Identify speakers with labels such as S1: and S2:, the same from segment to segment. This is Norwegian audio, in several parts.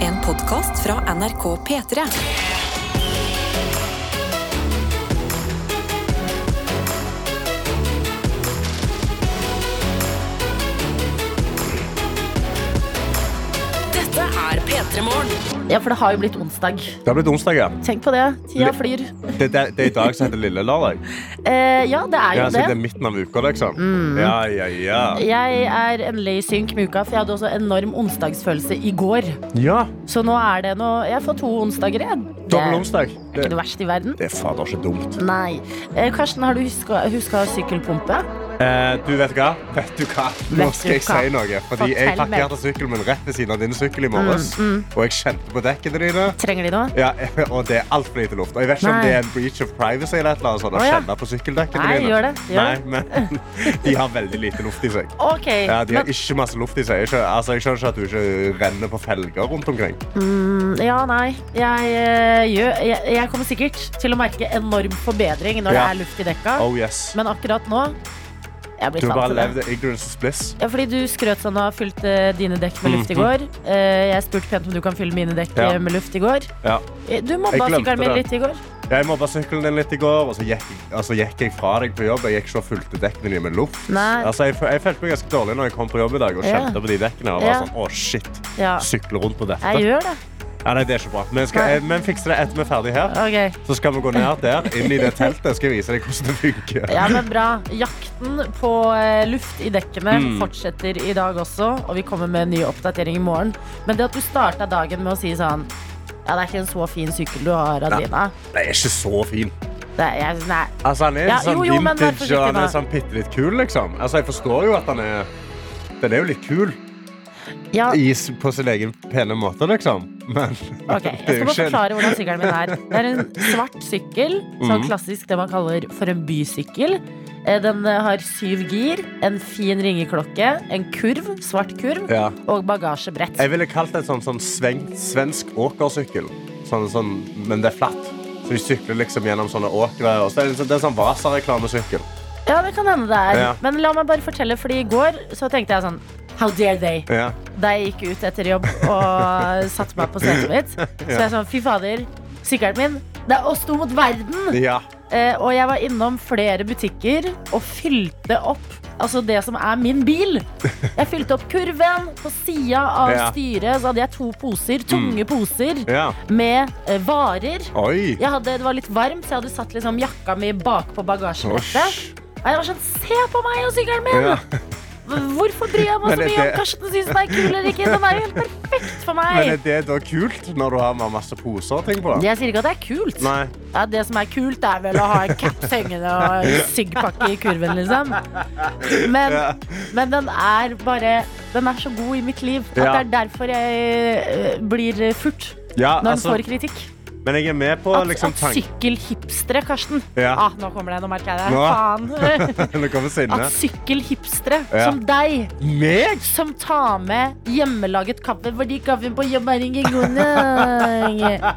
S1: En podkast fra NRK P3. Dette er P3 Morgen.
S2: Ja, for det har jo blitt onsdag.
S3: Det har blitt onsdag, ja.
S2: Tenk på det. Tida
S3: Le-
S2: flyr.
S3: Det, det, det er i dag som heter lille lørdag.
S2: Eh, ja, det Mm. er jo
S3: Ja, så det er
S2: det.
S3: midten av uka, liksom. Ja, ja, ja.
S2: Jeg er endelig i synk med uka, for jeg hadde også enorm onsdagsfølelse i går.
S3: Ja,
S2: Så nå er det nå Jeg får to onsdager igjen. Det
S3: Dobbel
S2: er
S3: onsdag. Det,
S2: ikke det verste i verden.
S3: det er fader ikke dumt.
S2: Nei. Eh, Karsten, har du huska, huska sykkelpumpe?
S3: Eh, du, vet du hva? Vet du hva? Nå
S2: Vet
S3: skal
S2: du
S3: jeg
S2: hva?
S3: si noe. Fordi jeg
S2: Fortell meg. Mm,
S3: parkerte sykkelen min rett ved siden av din sykkel i morges. Og jeg kjente på dekkene dine.
S2: Trenger de noe?
S3: Ja, og det er altfor lite luft. Og jeg vet ikke
S2: Nei.
S3: om det er en breach of privacy eller et eller annet sånt. Å
S2: Å, ja.
S3: kjenne på sykkeldekkene
S2: Nei,
S3: dine.
S2: gjør det, gjør
S3: Nei, men de har veldig lite luft i seg.
S2: OK.
S3: Ja, de har
S2: Men,
S3: ikke masse luft i seg. Jeg skjønner, altså, jeg skjønner ikke at du ikke renner på felger rundt omkring.
S2: Mm, ja, nei. Jeg, eh, gjør, jeg, jeg kommer sikkert til å merke enorm forbedring når det
S3: Ja.
S2: er luft i dekka,
S3: Oh yes.
S2: men akkurat nå Jeg blir
S3: Du har
S2: satt
S3: bare
S2: til det.
S3: levd ignorance is bliss.
S2: Ja, fordi du skrøt sånn av fylte dine dekk med luft i går. Eh, Jeg spurte pent om du kan fylle mine dekk
S3: Mhm. Ja.
S2: eh, med luft i går.
S3: Ja.
S2: Eh, Du mobba
S3: Jeg glemte
S2: sykkelen min
S3: det.
S2: litt i går.
S3: Jeg mobba sykkelen din litt i går, og så gikk, altså, gikk jeg fra deg på jobb. Jeg gikk ikke og fulgte dekkene dine med luft.
S2: Nei.
S3: Altså, jeg, f- jeg følte meg ganske dårlig når jeg kom på jobb i dag og
S2: Ja.
S3: kjente på de dekkene. Og var
S2: Ja.
S3: sånn, å shit,
S2: Ja,
S3: sykle rundt på dette.
S2: jeg gjør det.
S3: Ja, nei, det er ikke bra. Men, skal,
S2: Nei.
S3: jeg, men fikser det etter vi er ferdig her.
S2: Ok.
S3: Så skal vi gå ned der, inn i det teltet. Skal jeg vise deg hvordan det funker.
S2: Ja, men bra. Jakten på eh, luft i dekkene
S3: Mhm.
S2: fortsetter i dag også, og vi kommer med en ny oppdatering i morgen. Men det at du starta dagen med å si sånn Ja, det er ikke en så fin sykkel du har, Adelina.
S3: Det er ikke så fin.
S2: Det er, jeg, nei.
S3: Altså, han er
S2: Ja,
S3: sånn
S2: jo, jo, men vær
S3: vintage, og han
S2: forsiktig, da.
S3: er sånn bitte litt kul, liksom. Altså, jeg forstår jo at han er Den er jo litt kul
S2: Ja,
S3: i, s- på sin egen pene måte, liksom. Men
S2: ok. Jeg skal bare forklare hvordan sykkelen min er. Det er en svart sykkel,
S3: Mhm.
S2: sånn klassisk det man kaller for en bysykkel. Eh, Den eh, har syv gir, en fin ringeklokke, en kurv, svart kurv,
S3: Ja.
S2: og bagasjebrett.
S3: Jeg ville kalt det en sånn, sånn sveng, svensk åkersykkel. Sånn, sånn, men det er flatt. Så de sykler liksom gjennom sånne åkre. Og så er det, en sånn- det er en sånn Vasa-reklamesykkel.
S2: Ja, det kan hende det er.
S3: Ja.
S2: Men la meg bare fortelle, fordi i går så tenkte jeg sånn How dare they?
S3: Ja.
S2: Da jeg gikk ut etter jobb og satte meg på setet mitt. Så jeg sånn, fy fader, sykkelen min, det er oss to mot verden!
S3: ja.
S2: Eh, og jeg var innom flere butikker og fylte opp altså det som er min bil. Jeg fylte opp kurven på sida av
S3: Ja. Mm.
S2: styret, så hadde jeg to poser, tunge poser,
S3: ja.
S2: med eh, varer.
S3: Oi.
S2: Jeg hadde, det var litt varmt, så jeg hadde satt liksom jakka mi bakpå bagasjebrettet.
S3: Osj.
S2: Og jeg var sånn, se på meg og sykkelen min!
S3: Ja.
S2: Hvorfor bryr jeg meg
S3: Men
S2: så
S3: er
S2: mye om
S3: det-
S2: Karsten syns den er kul eller ikke? Den er jo helt perfekt for
S3: Men er
S2: meg!
S3: det da kult når du har med masse poser og ting på? Da?
S2: Jeg sier ikke at det er kult.
S3: Nei.
S2: Ja, det som er kult, er vel å ha en caps hengende og en syggpakke i kurven, liksom. Men,
S3: Ja.
S2: men den er bare Den er så god i mitt liv at det
S3: Ja.
S2: er derfor jeg eh, blir furt
S3: Ja,
S2: når den
S3: altså,
S2: får kritikk.
S3: men jeg er med på
S2: At,
S3: liksom,
S2: at
S3: tanken
S2: sykkelhipstere, Karsten
S3: Ja.
S2: ah, Nå kommer det, nå merker jeg
S3: Nå.
S2: det. Faen.
S3: Nå kommer
S2: At
S3: sinnet.
S2: sykkelhipstere
S3: Ja.
S2: som deg
S3: Meg?
S2: som tar med hjemmelaget kaffe fordi kaffen på jobb er ikke god nok.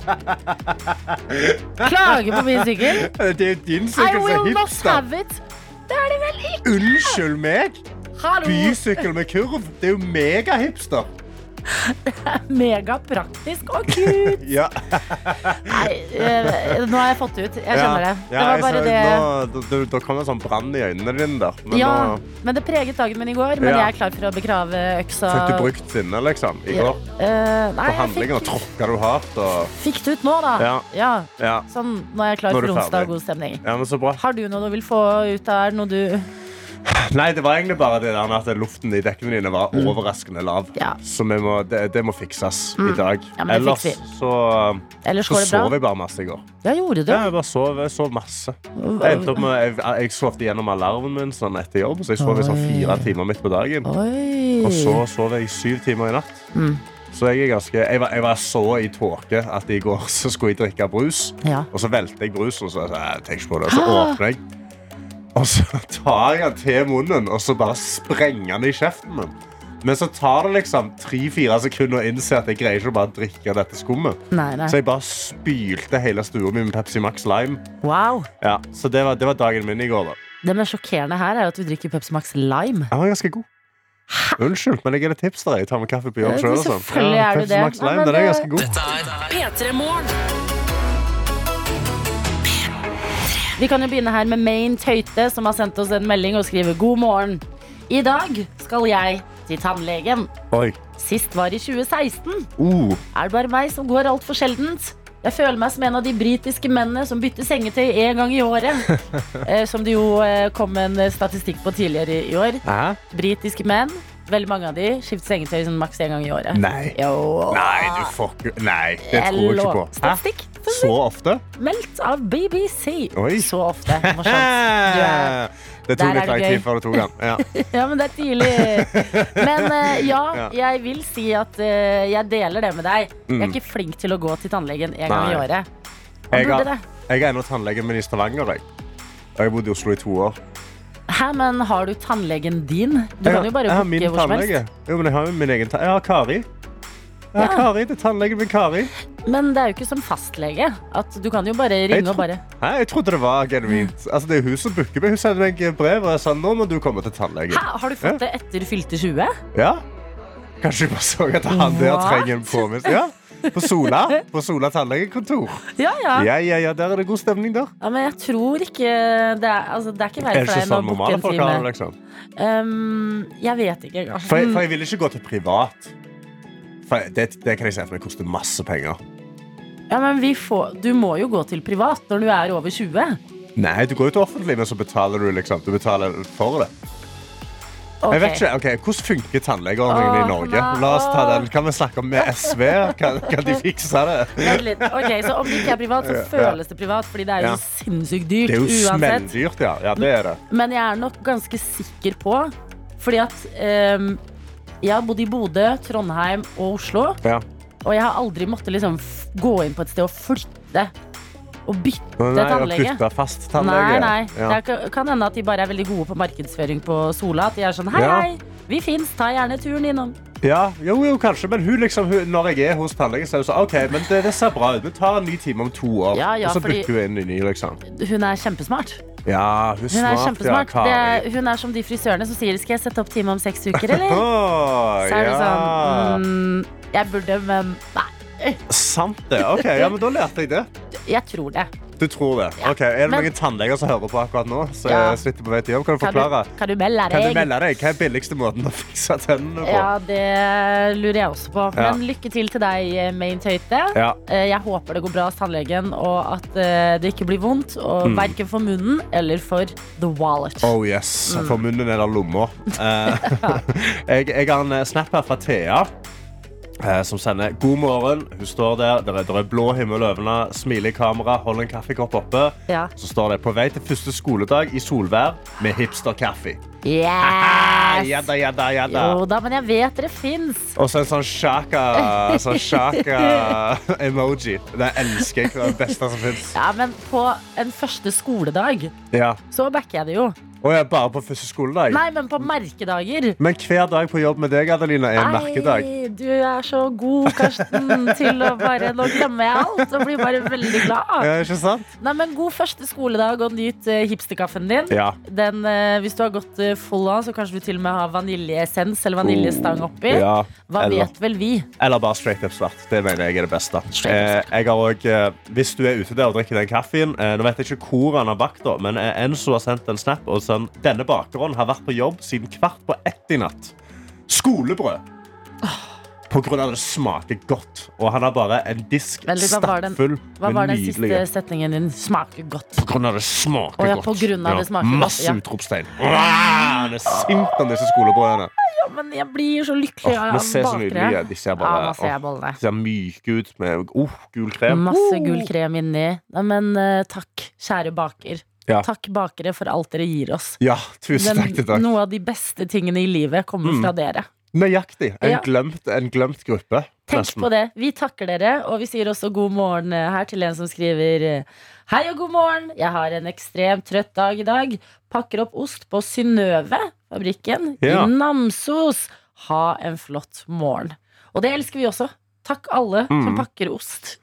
S2: Klager på min sykkel.
S3: Det er jo din
S2: I
S3: sykkel som
S2: will
S3: er
S2: not
S3: hipster.
S2: have it. Det er det vel ikke?
S3: Unnskyld meg.
S2: Hallo.
S3: Bysykkel med kurv. Det er jo megahipster.
S2: Megapraktisk og kult.
S3: Ja.
S2: Nei, eh, nå har jeg fått det ut. Jeg skjønner det.
S3: Ja,
S2: Det var
S3: jeg
S2: bare
S3: ser-
S2: det.
S3: Nå, da, da kom det en sånn brann i øynene dine der. Men
S2: Ja,
S3: da
S2: men det preget dagen min i går. Men
S3: Ja.
S2: jeg er klar for å begrave øksa.
S3: fikk du brukt sinnet, liksom. I går.
S2: Eh, nei,
S3: På
S2: jeg
S3: handlinger
S2: fikk,
S3: tråkka du hardt. Og,
S2: fikk det ut nå, da.
S3: Ja.
S2: ja.
S3: ja.
S2: Sånn, nå er jeg klar
S3: Nå er
S2: for
S3: du
S2: onsdag
S3: ferdig.
S2: og god stemning.
S3: ja, men så bra.
S2: Har du noe du vil få ut av noe du
S3: Nei, det var egentlig bare det der med at luften i dekkene dine var overraskende lav.
S2: Mm. Ja. Mm.
S3: Så vi må, det, det må fikses i dag.
S2: Ja, men det
S3: Ellers
S2: fikser
S3: så,
S2: Ellers
S3: så
S2: går det
S3: sov
S2: bra?
S3: jeg bare masse i går.
S2: Ja, gjorde du?
S3: Ja, jeg bare sov, jeg sov masse. Jeg, endte opp med, jeg, jeg sovte gjennom alarmen min sånn etter jobb, så jeg sov i sånn fire timer midt på dagen.
S2: Oi. Mm.
S3: Og så sov jeg syv timer i natt. Så jeg, er ganske, jeg, var, jeg var så i tåke at i går så skulle jeg drikke brus.
S2: Ja.
S3: Og så velte jeg brusen, og så, så, jeg tenker ikke på det. Og så åpner jeg. Og så tar jeg den til munnen, og så bare sprenger den i kjeften min. Men så tar det liksom tre-fire sekunder å innse at jeg greier ikke å bare drikke dette skummet.
S2: Nei, nei.
S3: Så jeg bare spylte hele stua mi med Pepsi Max Lime.
S2: Wow.
S3: Ja, så det var, det var dagen min i går. da
S2: Det som er sjokkerende her, er jo at du drikker Pepsi Max Lime.
S3: Den var ganske god. Unnskyld, men jeg er litt hipster. Jeg tar med kaffe på jobb
S2: Ja,
S3: sjøl.
S2: selvfølgelig er du det. Nei,
S3: Max Lime,
S2: men
S3: den er
S2: det-
S3: ganske god.
S4: Dette er
S1: P3 Morgen.
S2: Vi kan jo begynne her med Main Tøyte, som har sendt oss en melding og skriver god morgen. I dag skal jeg til tannlegen.
S3: Oi.
S2: Sist var i 2016.
S3: Uh,
S2: Er det bare meg som går altfor sjeldent? Jeg føler meg som en av de britiske mennene som bytter sengetøy én gang i året. Eh, som det jo eh, kom en eh, statistikk på tidligere i- i år.
S3: hæ?
S2: Britiske menn, veldig mange av de, skifter sengetøy sånn maks én gang i året.
S3: Nei.
S2: Jo.
S3: Nei, du fucker Nei, det tror jeg ikke på. Hæ?
S2: Statistikk
S3: Så ofte?
S2: meldt av BBC.
S3: Oi.
S2: Så ofte. Morsomt. Du er
S3: Eh. Det
S2: Der
S3: tok
S2: er
S3: litt
S2: det
S3: lang
S2: gøy.
S3: tid før du tok den. Ja.
S2: Ja, men det er tidlig. Men eh, ja,
S3: Ja.
S2: jeg vil si at eh, jeg deler det med deg. Jeg er ikke flink til å gå til tannlegen en gang i
S3: Mm. Nei.
S2: året. Man
S3: Jeg
S2: burde
S3: har,
S2: det.
S3: jeg har ennå tannlegen min i Stavanger. Jeg. Og jeg har bodd i Oslo i to år.
S2: Hæ, men har du tannlegen din? Du
S3: Jeg
S2: kan
S3: har-
S2: jo bare
S3: jeg har min
S2: booke hvor som
S3: tannlege.
S2: helst.
S3: Jo, men jeg har jo min egen ta- Jeg har Kari. Jeg har
S2: Ja.
S3: Kari, Det er tannlegen min, Kari.
S2: Men det er jo ikke som fastlege. At du kan jo bare ringe og
S3: tro-
S2: bare
S3: Hæ, jeg trodde det var genuint. Altså, det er hun som booker meg. Hun sender meg brev og jeg sa nå må du komme til tannlegen.
S2: Hæ, har du fått det etter fylte 20?
S3: Ja. Kanskje jeg bare så at han der
S2: What?
S3: trenger en påminnelse. Ja. På Sola På Sola tannlegekontor.
S2: Ja, ja.
S3: Ja, ja, ja, der er det god stemning, der.
S2: ja men jeg tror ikke Det er, altså, det er ikke
S3: Er
S2: verre
S3: det
S2: for deg
S3: ikke
S2: enn å
S3: sånn
S2: booke
S3: normale
S2: en
S3: folk har
S2: time.
S3: det? liksom?
S2: Um, jeg vet ikke engang.
S3: For jeg, for jeg vil ikke gå til privat. For det, det kan jeg si for det koster masse penger.
S2: Ja, men vi får, du må jo gå til privat når du er over 20.
S3: Nei, du går jo til offentlig, men så betaler du liksom. Du betaler for det. Jeg vet ikke, ok, Hvordan funker tannlegeordningen
S2: Åh,
S3: i Norge?
S2: nei,
S3: La oss ta
S2: åh.
S3: den. Kan vi snakke med SV? Kan, kan de fikse det?
S2: Vent litt. Ok, Så om det ikke er privat, så
S3: Ja.
S2: føles det privat. Fordi det er jo
S3: Ja.
S2: sinnssykt dyrt
S3: Det er jo
S2: uansett.
S3: smelldyrt, ja. ja. Det er det.
S2: Men jeg er nok ganske sikker på Fordi at ehm, jeg har bodd i Bodø, Trondheim og Oslo.
S3: Ja.
S2: Og jeg har aldri måttet liksom f gå inn på et sted og flytte. Og bytte
S3: Nei, å
S2: tannlege.
S3: bytte fast
S2: Nei,
S3: tannlege.
S2: nei.
S3: Ja.
S2: Det er ka- kan hende at de bare er veldig gode på markedsføring på Sola. At de er sånn hei,
S3: Ja.
S2: hei, vi fins, ta gjerne turen innom.
S3: Ja, jo, jo, kanskje, men hun liksom, hun, når jeg er hos tannlegen, så er hun sånn OK, men det, det ser bra ut. Vi tar en ny time om to år.
S2: Ja, ja,
S3: og så
S2: fordi-
S3: bytter hun inn i ny, liksom.
S2: Hun er kjempesmart.
S3: Ja, hun er
S2: Hun er
S3: smart, ja.
S2: kjempesmart.
S3: Kari.
S2: Det er, hun er som de frisørene som sier 'skal jeg sette opp time om seks uker', eller?
S3: Åh,
S2: Så er det
S3: ja.
S2: sånn mm, Jeg burde, men nei.
S3: Sant det. Ok, ja, men Da lærte jeg det.
S2: Jeg tror det.
S3: Du tror det. Ok, Er det
S2: men-
S3: noen tannleger som hører på akkurat nå? Så
S2: Ja.
S3: sitter på vei til jobb? Kan du
S2: Kan du,
S3: forklare?
S2: kan du melde
S3: Kan
S2: deg?
S3: du melde deg? Hva er billigste måten å fikse tennene på?
S2: Ja, det lurer jeg også på.
S3: Ja.
S2: Men lykke til til deg, eh, Main Tøyte.
S3: Ja.
S2: Eh, Jeg håper det går bra hos tannlegen, og at eh, det ikke blir vondt. Og Verken for munnen eller for the wallet.
S3: Mm. Oh yes.
S2: Mm.
S3: For munnen er der lomma. Eh, jeg, jeg har en eh, snap her fra Thea. eh, Som sender 'God morgen'. Hun står der. Der er, der er blå himmel over henne. Smiler i kamera. Holder en kaffekopp oppe.
S2: Ja.
S3: Så står det 'På vei til første skoledag i solvær med hipsterkaffe'. Ah,
S2: Yes!
S3: jadda, jadda, jadda.
S2: Jo da, men jeg vet dere fins.
S3: Og så en sånn shaka, sånn shaka emoji. Det elsker jeg. Det er det beste som fins.
S2: Ja, men på en første skoledag
S3: Ja.
S2: så backer jeg det jo.
S3: Og jeg er bare på første skoledag.
S2: Nei, men på merkedager.
S3: Men hver dag på jobb med deg Adelina, er en merkedag.
S2: Nei, du er så god, Karsten, til å bare Nå glemmer jeg alt og blir bare veldig glad.
S3: Ja, ikke sant?
S2: Nei, men God første skoledag, og nyt eh, hipsterkaffen din.
S3: Ja.
S2: Den, eh, hvis du har gått eh, full av, så kanskje du til og med har vaniljeessens eller vaniljestang oppi.
S3: Oh, Ja,
S2: Hva
S3: eller-
S2: vet vel vi?
S3: Eller bare straight up svart. Det mener jeg er det beste.
S2: Straight up
S3: Eh, jeg har også, eh, hvis du er ute der og drikker den kaffen eh, Nå vet jeg ikke hvor han har bakt, da, men eh, Enzo har sendt en snap og sånn Denne bakeren har vært på jobb siden kvart på ett i natt. Skolebrød! På grunn av at det smaker godt. Og han har bare en disk
S2: Vent litt, hva var den-
S3: stappfull
S2: Hva
S3: med
S2: var den siste
S3: nydelige
S2: setningen din? Smaker godt.
S3: På grunn av det smaker
S2: Å ja,
S3: godt.
S2: på grunn av det smaker godt,
S3: Masse
S2: ja.
S3: utropstegn. Wow, Han er sint om disse skolebrødene.
S2: Ja, men jeg blir så lykkelig
S3: Åh,
S2: av
S3: men se så
S2: bakere.
S3: nydelige de ser bare-
S2: Ja, nå ser jeg
S3: åh.
S2: bollene.
S3: De ser myke ut med oh, gul krem.
S2: Masse gul
S3: Oh.
S2: krem inni. Nei, men eh, takk, kjære baker.
S3: Ja.
S2: Takk, bakere, for alt dere gir oss.
S3: Ja, tusen takk Mm. til
S2: Den,
S3: deg.
S2: noe av de beste tingene i livet kommer fra dere.
S3: Nøyaktig. En,
S2: Ja.
S3: glemt, en glemt gruppe.
S2: Tenk på det. Vi takker dere, og vi sier også god morgen eh, her til en som skriver eh, Hei og god morgen. Jeg har en ekstremt trøtt dag i dag. Pakker opp ost på Synnøve-fabrikken
S3: Ja.
S2: i Namsos. Ha en flott morgen. Og det elsker vi også. Takk alle som
S3: Mm.
S2: pakker ost.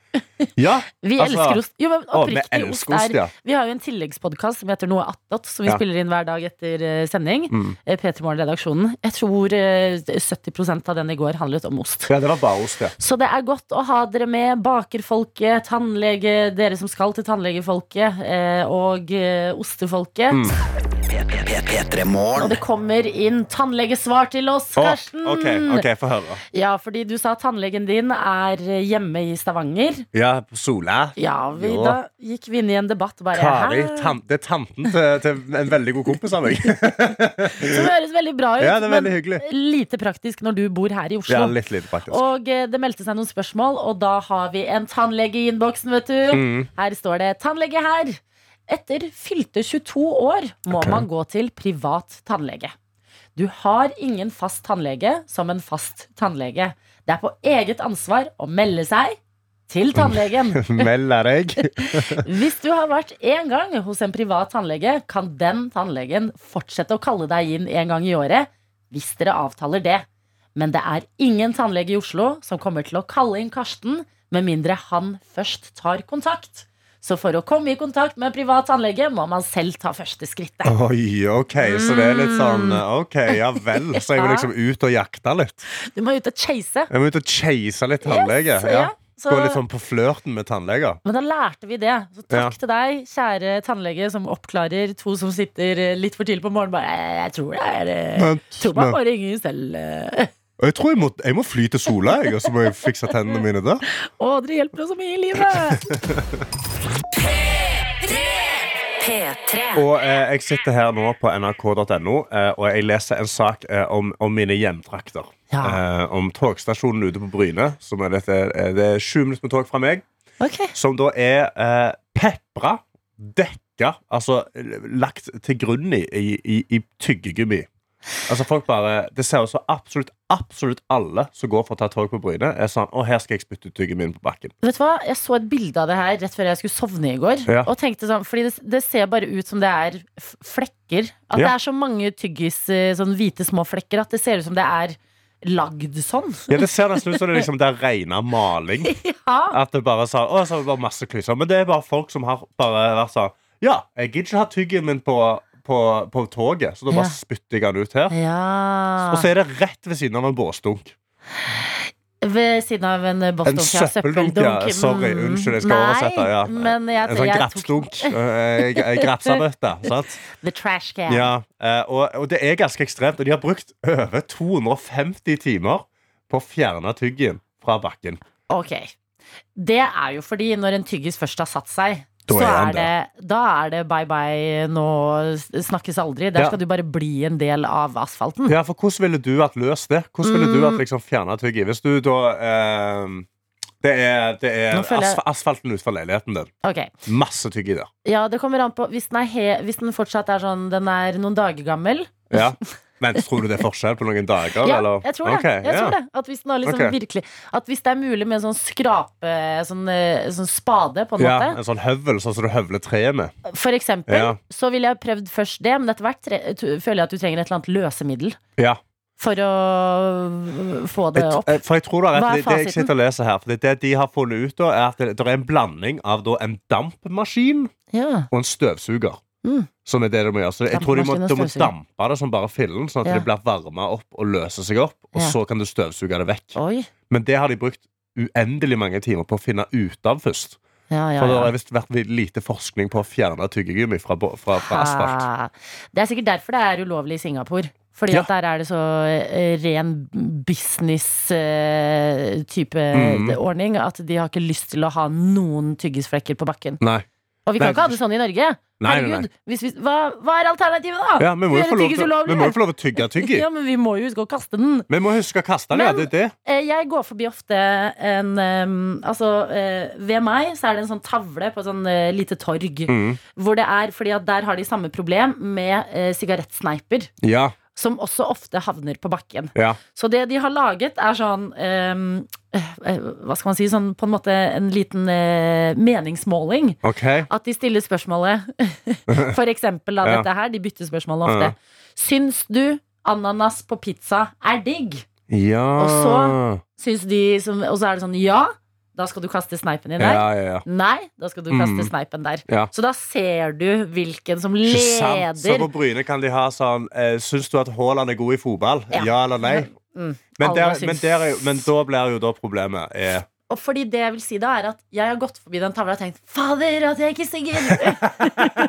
S3: Ja,
S2: Vi
S3: Altså,
S2: elsker ost. Jo, men
S3: å, vi
S2: oppriktig, ost
S3: elsker ost,
S2: er
S3: ja.
S2: Vi har jo en tilleggspodkast som heter Noe attåt, som vi
S3: Ja.
S2: spiller inn hver dag etter eh, sending.
S3: Mm.
S2: Eh, P3 Morgen-redaksjonen. Jeg tror eh, 70 av den i går handlet om ost.
S3: Ja, det var bare ost, ja.
S2: Så det er godt å ha dere med, bakerfolket, tannlege, dere som skal til tannlegefolket, eh, og eh, ostefolket.
S3: Mm.
S2: Og det kommer inn tannlegesvar til oss,
S3: Å,
S2: Karsten!
S3: OK, ok, få høre.
S2: Ja, fordi du sa tannlegen din er hjemme i Stavanger.
S3: Ja, Sola.
S2: Ja, vi,
S3: Jo.
S2: da gikk vi inn i en debatt bare
S3: Kari.
S2: hæ?
S3: Tan det er tanten til, til en veldig god kompis av meg.
S2: Som høres veldig bra ut,
S3: Ja, det er veldig hyggelig.
S2: men lite praktisk når du bor her i Oslo.
S3: Ja, litt lite praktisk.
S2: Og eh, det meldte seg noen spørsmål, og da har vi en tannlege i innboksen, vet du.
S3: Mm.
S2: Her står det 'tannlege her'. Etter fylte 22 år må man gå til privat tannlege. Du har ingen fast tannlege som en fast tannlege. Det er på eget ansvar å melde seg til tannlegen.
S3: Melder deg.
S2: Hvis du har vært én gang hos en privat tannlege, kan den tannlegen fortsette å kalle deg inn en gang i året hvis dere avtaler det. Men det er ingen tannlege i Oslo som kommer til å kalle inn Karsten med mindre han først tar kontakt. Så for å komme i kontakt med en privat tannlege må man selv ta første skrittet.
S3: Oi, OK, så det er litt sånn
S2: Mm.
S3: OK, ja vel. Så jeg må liksom ut og jakte litt.
S2: Du må ut og chase.
S3: Jeg må ut og chase litt tannlege.
S2: Yes,
S3: Ja.
S2: ja, så-
S3: Gå litt sånn på flørten med tannleger.
S2: Men da lærte vi det. Så takk
S3: Ja.
S2: til deg, kjære tannlege, som oppklarer to som sitter eh, litt for tidlig på morgenen. Bare, «Eh, jeg tror det er eh,
S3: Men-
S2: Tror man
S3: men-
S2: bare ringer selv. eh.»
S3: Og jeg tror jeg må, jeg må fly til Sola, jeg, og så må jeg fikse tennene mine der.
S2: Å, dere hjelper oss så mye i livet!
S1: P3.
S3: Og eh, jeg sitter her nå på nrk.no, eh, og jeg leser en sak eh, om, om mine hjemtrakter.
S2: Ja.
S3: Eh, om togstasjonen ute på Bryne. Som er dette, eh, det er sju minutter med tog fra meg.
S2: Ok,
S3: Som da er eh, pepra, dekka, altså eh, lagt til grunn i, i, i, i tyggegummi. Altså folk bare, Det ser ut som absolutt absolutt alle som går for å ta tog på Bryne, er sånn Å, her skal jeg spytte ut tyggegummi på bakken.
S2: vet du hva? Jeg så et bilde av det her rett før jeg skulle sovne i går.
S3: Ja.
S2: Og tenkte sånn, fordi det, det ser bare ut som det er f- flekker. At det
S3: Ja.
S2: er så mange tyggis, eh, sånn hvite små flekker, at det ser ut som det er lagd sånn.
S3: Ja, Det ser nesten ut som det, er liksom, det er regna maling.
S2: Ja.
S3: At det bare sa, å, så var det bare masse klyser Men det er bare folk som har bare vært sånn Ja, jeg gidder ikke ha tyggen min på, på, på toget Så da bare
S2: Ja.
S3: spytter jeg den ut her Og
S2: ja.
S3: så er det rett ved siden av en båsdunk
S2: Ved siden av en eh,
S3: En
S2: bossdunk. ja,
S3: søppeldunk, ja
S2: søppeldunk. Mm.
S3: Sorry, unnskyld, jeg skal
S2: Nei,
S3: oversette ja.
S2: Men jeg,
S3: En sånn
S2: jeg tok
S3: grepsdunk Eh, eh, Grepsabøtte, sant?
S2: the trash can.
S3: Ja, eh, og, og det er ganske ekstremt Og de har brukt over 250 timer På å fjerne tyggen fra bakken
S2: Ok. Det er jo fordi når en tyggis først har satt seg,
S3: Da
S2: så
S3: er han
S2: er det, da er det bye bye, nå snakkes aldri. Der
S3: Ja.
S2: skal du bare bli en del av asfalten.
S3: Ja, for hvordan ville du hatt løst det? Hvordan ville du hatt
S2: Mm.
S3: liksom fjernet tygget? Hvis du da eh, Det er, det er
S2: Nå føler jeg-
S3: asf asfalten utenfor leiligheten din.
S2: Ok,
S3: Masse tygg i der.
S2: ja det kommer an på Hvis den, er he, hvis den fortsatt er sånn Den er noen dager gammel
S3: Ja. Men tror du det er forskjell på noen dager?
S2: Ja,
S3: eller?
S2: jeg tror det,
S3: Ok,
S2: jeg tror
S3: ja.
S2: det. At, hvis den har liksom
S3: Ok.
S2: virkelig, at hvis det er mulig med en sånn skrape Sånn, eh, sånn spade på en
S3: Ja,
S2: måte
S3: en sånn høvel, sånn som du høvler treet med.
S2: For eksempel,
S3: Ja.
S2: så ville jeg prøvd først det Men etter hvert tre, t- føler jeg at du trenger et eller annet løsemiddel
S3: Ja.
S2: For å øh, få det
S3: Jeg,
S2: opp
S3: eh, for jeg tror det, er
S2: Hva er
S3: rett, det, det jeg
S2: fasiten?
S3: sitter og leser her, for det, det de har funnet ut, da, er at det, det er en blanding av da, en dampmaskin
S2: Ja
S3: og en støvsuger.
S2: Mm.
S3: Som er det de må gjøre. Så jeg tror de må,
S2: Dampmaskin og
S3: de må
S2: støvsuger.
S3: dampe det som bare fillen, sånn at
S2: Ja.
S3: det blir varma opp og løser seg opp. Og
S2: Ja.
S3: så kan du støvsuge det vekk.
S2: Oi.
S3: Men det har de brukt uendelig mange timer på å finne ut av først.
S2: Ja, ja,
S3: For det
S2: ja.
S3: har visst vært lite forskning på å fjerne tyggegummi fra, bo- fra, fra asfalt.
S2: Ah. Det er sikkert derfor det er ulovlig i Singapore. Fordi
S3: Ja.
S2: at der er det så eh, ren business-type
S3: Mm.
S2: ordning at de har ikke lyst til å ha noen tyggisflekker på bakken.
S3: Nei.
S2: Og vi kan
S3: Nei.
S2: ikke ha det sånn i Norge!
S3: Nei, nei,
S2: Herregud, hvis vi, hva, hva er alternativet, da?
S3: Ja, vi må jo
S2: Gjøre
S3: få lov
S2: tyggis
S3: til,
S2: ulovlig.
S3: vi må jo få lov til å tygge tyggi.
S2: Ja, men vi må jo gå og kaste den.
S3: Vi må huske å kaste det, ja. Det
S2: Men-
S3: er det.
S2: Eh, Jeg går forbi ofte en em, Altså, eh, ved meg så er det en sånn tavle på et sånn eh, lite torg.
S3: Mm.
S2: Hvor det er, fordi at der har de samme problem med eh, sigarettsneiper.
S3: Ja,
S2: Som også ofte havner på bakken.
S3: ja.
S2: Så det de har laget, er sånn em, eh, Hva skal man si? Sånn, på en måte en liten eh, meningsmåling.
S3: OK.
S2: At de stiller spørsmålet For eksempel da
S3: Ja.
S2: dette her. De bytter spørsmålet ofte.
S3: Ja.
S2: Syns du ananas på pizza er digg?
S3: Ja.
S2: Og Syns de som, Og så er det sånn ja. Da skal du kaste sneipen din der.
S3: Ja, ja, ja.
S2: Nei, da skal du kaste sneipen der.
S3: Mm. Ja.
S2: Så da ser du hvilken som
S3: Ikke sant? Så
S2: leder.
S3: på Bryne kan de ha sånn eh, Syns du at Haaland er god i fotball?
S2: Ja.
S3: Ja, eller nei?
S2: Mm.
S3: Men,
S2: Alle
S3: der,
S2: syns-
S3: men, der er jo, men da blir jo da problemet eh, er
S2: Og fordi det jeg vil si da, er at jeg har gått forbi den tavla og tenkt 'Fader, at jeg ikke synger!'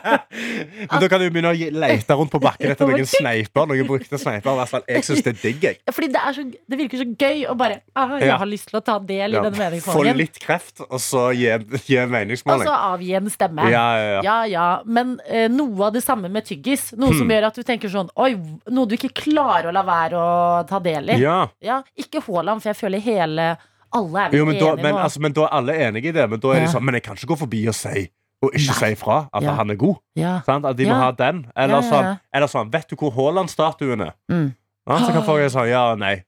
S3: Men da kan du begynne å gi- lete rundt på bakken etter noen sneiper. Noen brukte sneiper. og være sånn, Jeg syns det er digg, jeg.
S2: Fordi det, er så, det virker så gøy å bare ah, 'Jeg
S3: Ja.
S2: har lyst til å ta del i
S3: Ja,
S2: denne
S3: Få
S2: meningsmålingen'.
S3: litt kreft, og så gi, gi
S2: Og
S3: en
S2: så
S3: meningsmåling.
S2: avgi en stemme.
S3: Ja, ja, ja.
S2: Ja, ja, men eh, noe av det samme med tyggis. Noe
S3: Hmm.
S2: som gjør at du tenker sånn Oi, noe du ikke klarer å la være å ta del i.
S3: ja.
S2: Ja, ikke Haaland, for jeg føler hele Alle er vel
S3: Jo, men, da,
S2: enige
S3: men,
S2: nå.
S3: altså, men da er alle enige i det. Men da
S2: Ja.
S3: er de sånn Men jeg kan ikke gå forbi og si og ikke si ifra at
S2: Ja.
S3: han er god.
S2: ja.
S3: Sant? At de må
S2: Ja.
S3: ha den. Eller,
S2: Ja, ja, ja.
S3: Sånn, eller sånn Vet du hvor Haaland-statuen er?
S2: Mm.
S3: Ja, så kan folk være sånn Ja, nei.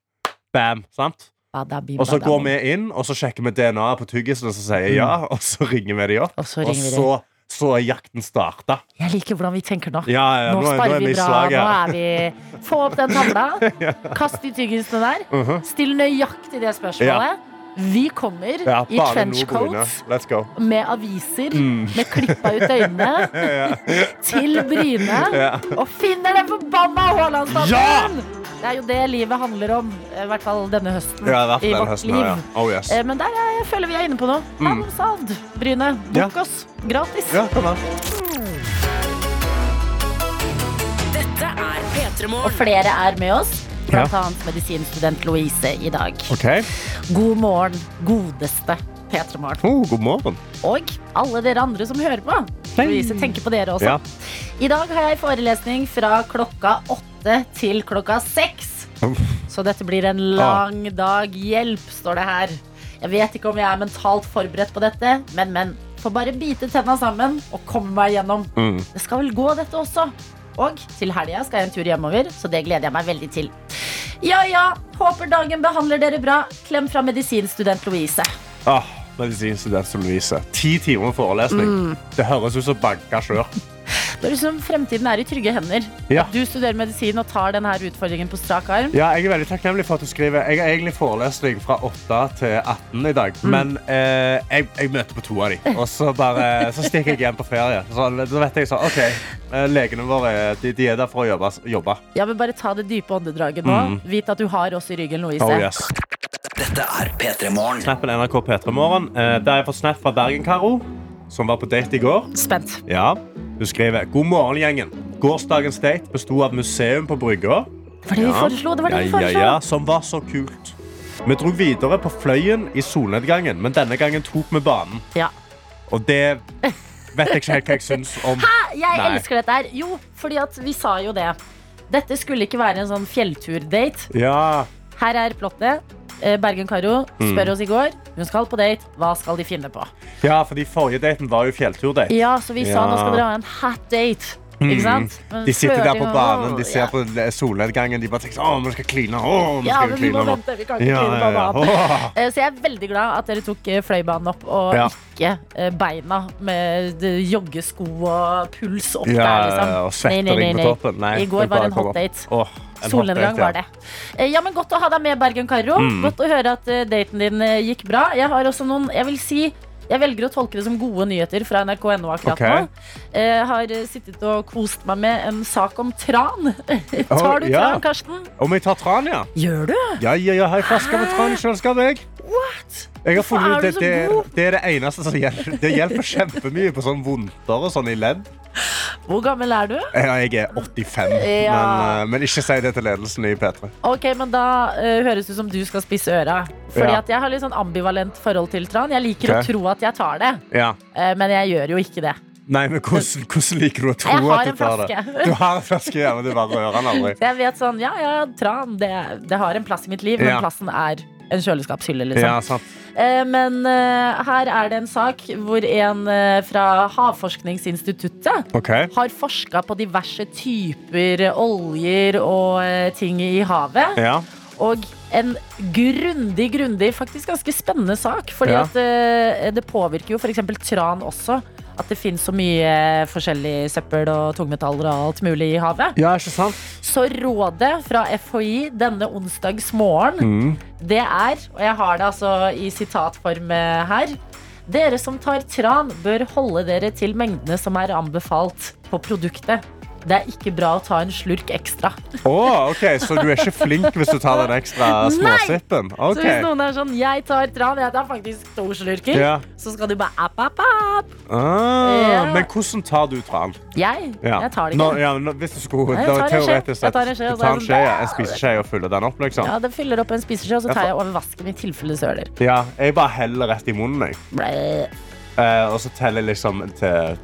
S3: Bam. Sant?
S2: Bada bim,
S3: Og så
S2: bada
S3: går
S2: bom.
S3: vi inn, og så sjekker vi DNA-et på tyggisen, og så sier jeg ja, og så ringer vi de opp.
S2: Og Mm. så
S3: Og
S2: ringer vi
S3: så, så er jakten starta.
S2: dem. Jeg liker hvordan vi tenker nå.
S3: Ja, ja,
S2: nå,
S3: nå, er- nå
S2: sparer
S3: er vi
S2: vi
S3: i
S2: bra.
S3: slaget.
S2: Nå
S3: her.
S2: er vi Få opp den tavla. Kast de tyggisene der.
S3: Mhm.
S2: Still nøyaktig det spørsmålet. Vi kommer
S3: Ja,
S2: i
S3: bare nå, Bryne.
S2: trenchcoats
S3: Let's go.
S2: med aviser
S3: Mm.
S2: med klippa ut øynene til Bryne
S3: Ja.
S2: og finner den forbanna Haaland-statuen! Det er jo det livet handler om, i hvert fall denne høsten.
S3: Ja, i hvert fall
S2: I
S3: den
S2: vårt
S3: høsten.
S2: liv.
S3: her, Ja. Oh, yes.
S2: Eh, Men der er, jeg føler vi er inne på noe. Handelsavd, Bryne. Bok
S3: Mm. Ja.
S2: oss. Gratis.
S3: Ja, kom an.
S1: Dette er P3
S2: Og
S1: Morgen.
S2: flere er med oss.
S3: Ja.
S2: Blant annet medisinstudent Louise i dag.
S3: OK.
S2: God morgen, godeste P3 Morgen.
S3: Oh, god morgen.
S2: Og alle dere andre som hører på. Louise tenker på dere også.
S3: Ja.
S2: I dag har jeg forelesning fra klokka åtte til klokka seks.
S3: Uff.
S2: Så dette blir en lang dag. Hjelp, står det her. Jeg vet ikke om jeg er mentalt forberedt på dette, men, men. Får bare bite tenna sammen og komme meg gjennom.
S3: Mm.
S2: Det skal vel gå, dette også. Og til helga skal jeg en tur hjemover, så det gleder jeg meg veldig til. Ja ja, håper dagen behandler dere bra. Klem fra medisinstudent Louise.
S3: Ah, Medisinstudent som Louise. Ti timer forelesning.
S2: Mm.
S3: Det høres ut som banka sjøl.
S2: Det er liksom Fremtiden er i trygge hender.
S3: Ja.
S2: At du studerer medisin og tar denne utfordringen på strak arm.
S3: Ja, jeg er veldig takknemlig for at du skriver. Jeg har egentlig forelesning fra 8 til 18 i dag,
S4: Mm.
S3: men eh, jeg, jeg møter på to av de, og så, bare, så stikker jeg hjem på ferie. Så, da vet jeg sånn, OK, eh, legene våre de, de er der for å jobbe. jobbe.
S2: Ja, men Bare ta det dype åndedraget nå. Vit at du har oss i ryggen, Louise.
S3: Mm. Oh, yes.
S4: Dette er P3 Morgen.
S3: Snappen NRK P3 Morgen. Eh, der har jeg fått snap fra Bergen-Karo, som var på date i går.
S2: Spent.
S3: Ja, Hun skriver God morgen, gjengen. Gårsdagens date besto av museum på brygga.
S2: Det var det vi foreslo. Det var det vi
S3: ja,
S2: foreslo.
S3: ja, ja, som var så kult. Vi dro videre på fløyen i solnedgangen, men denne gangen tok vi banen.
S2: Ja.
S3: Og det vet jeg ikke helt hva jeg syns om.
S2: Jeg
S3: Nei.
S2: elsker dette her. Jo, fordi at vi sa jo det. Dette skulle ikke være en sånn fjellturdate.
S3: Ja,
S2: Her er plottet. Eh, Bergen-Karo
S3: Mm.
S2: spør oss i går. Hun skal på date. Hva skal de finne på?
S3: ja fordi forrige daten var jo fjellturdate.
S2: Ja, så vi sa
S3: Ja. Mm.
S2: nå skal dere ha en hat date. Ikke sant? Men
S3: De sitter der på
S2: flørting og-
S3: banen, de ser
S2: Ja.
S3: på solnedgangen. De bare tenker sånn, å, vi skal kline. Å, vi
S2: Ja,
S3: skal
S2: men vi må
S3: kline nå.
S2: vente. Vi kan ikke
S3: Ja,
S2: kline
S3: ja,
S2: på
S3: ja.
S2: banen.
S3: Åh.
S2: Eh, Så jeg er veldig glad at dere tok eh, fløibanen opp, og
S3: Ja.
S2: ikke eh, beina med eh, joggesko og puls opp
S3: Ja,
S2: der,
S3: ja,
S2: liksom.
S3: ja, og svettering på toppen. Nei,
S2: I går
S3: det
S2: var
S3: bare
S2: en hot
S3: kom opp.
S2: date.
S3: Åh, en hot date,
S2: Solnedgang
S3: ja. Mm.
S2: var det. Eh, Ja, men Godt å ha deg med, Bergen-Karo. Godt å høre at eh, daten din eh, gikk bra. Jeg har også noen, jeg vil si jeg velger å tolke det som gode nyheter fra nrk.no akkurat
S3: Ok.
S2: nå. Eh, har eh, sittet og kost meg med en sak om tran. Tar du
S3: ja.
S2: tran, Karsten?
S3: Om jeg tar tran, ja?
S2: Gjør du?
S3: Ja, ja, ja, har jeg flaske med tran i kjøleskapet, jeg.
S2: What?
S3: Jeg har
S2: Hvorfor
S3: funnet
S2: er
S3: ut
S2: du
S3: at
S2: så
S3: det,
S2: god?
S3: det er det eneste som hjelper. Det hjelper kjempemye på sånn vondter og sånn i ledd.
S2: Hvor gammel er du?
S3: Ja, Jeg er 85,
S2: Ja.
S3: men, eh, men ikke si det til ledelsen i P3.
S2: Ok, men Da eh, høres det ut som du skal spisse øra. Fordi
S3: Ja.
S2: at Jeg har litt sånn ambivalent forhold til tran. Jeg liker
S3: Ok.
S2: å tro at jeg tar det,
S3: Ja.
S2: eh, men jeg gjør jo ikke det.
S3: Nei, men hvordan, hvordan liker du å
S2: Jeg
S3: tro
S2: har
S3: at du
S2: en
S3: tar det?
S2: flaske.
S3: Du har en flaske, ja, men du bare rører den aldri.
S2: Så jeg vet sånn, ja, ja, tran, det, det har en plass i mitt liv, men
S3: Ja.
S2: plassen er en kjøleskapshylle, liksom.
S3: Ja, sant.
S2: Eh, men eh, her er det en sak hvor en eh, fra Havforskningsinstituttet
S3: OK.
S2: har forska på diverse typer oljer og eh, ting i havet.
S3: Ja.
S2: Og en grundig, grundig, faktisk ganske spennende sak. Fordi
S3: Ja.
S2: at eh, det påvirker jo f.eks. tran også. At det finnes så mye forskjellig søppel og tungmetaller og alt mulig i havet.
S5: Ja, ikke sant?
S2: Så rådet fra FHI denne onsdags morgen, det er, og jeg har det altså i sitatform eh, her Dere som tar tran, bør holde dere til mengdene som er anbefalt på produktet. Det er ikke bra å ta en slurk ekstra.
S3: Å, ok, Så du er ikke flink hvis du tar den ekstra småsippen?
S2: Så hvis
S3: Ok.
S2: noen er sånn 'jeg tar tran', jeg tar faktisk to slurker,
S3: Ja.
S2: så skal du bare app, app, app.
S3: Ah,
S2: Ja.
S3: men hvordan tar du tran?
S2: Jeg?
S3: Ja.
S2: Jeg tar det
S3: Nå,
S2: ikke.
S3: ja, men nå, hvis du skulle
S2: Nei, jeg
S3: da,
S2: tar en skje.
S3: teoretisk sett
S2: Jeg tar en skje,
S3: du
S2: og så
S3: tar
S2: er
S3: en
S2: det
S3: skje,
S2: sånn-
S3: ja, en spiseskje og fyller den opp, liksom.
S2: Ja, Den fyller opp en spiseskje, og så
S3: Jeg
S2: tar
S3: får-
S2: jeg over vasken i tilfelle det søler.
S3: Ja, jeg bare heller rett i munnen, jeg.
S2: Ble.
S3: Eh, og så teller jeg liksom til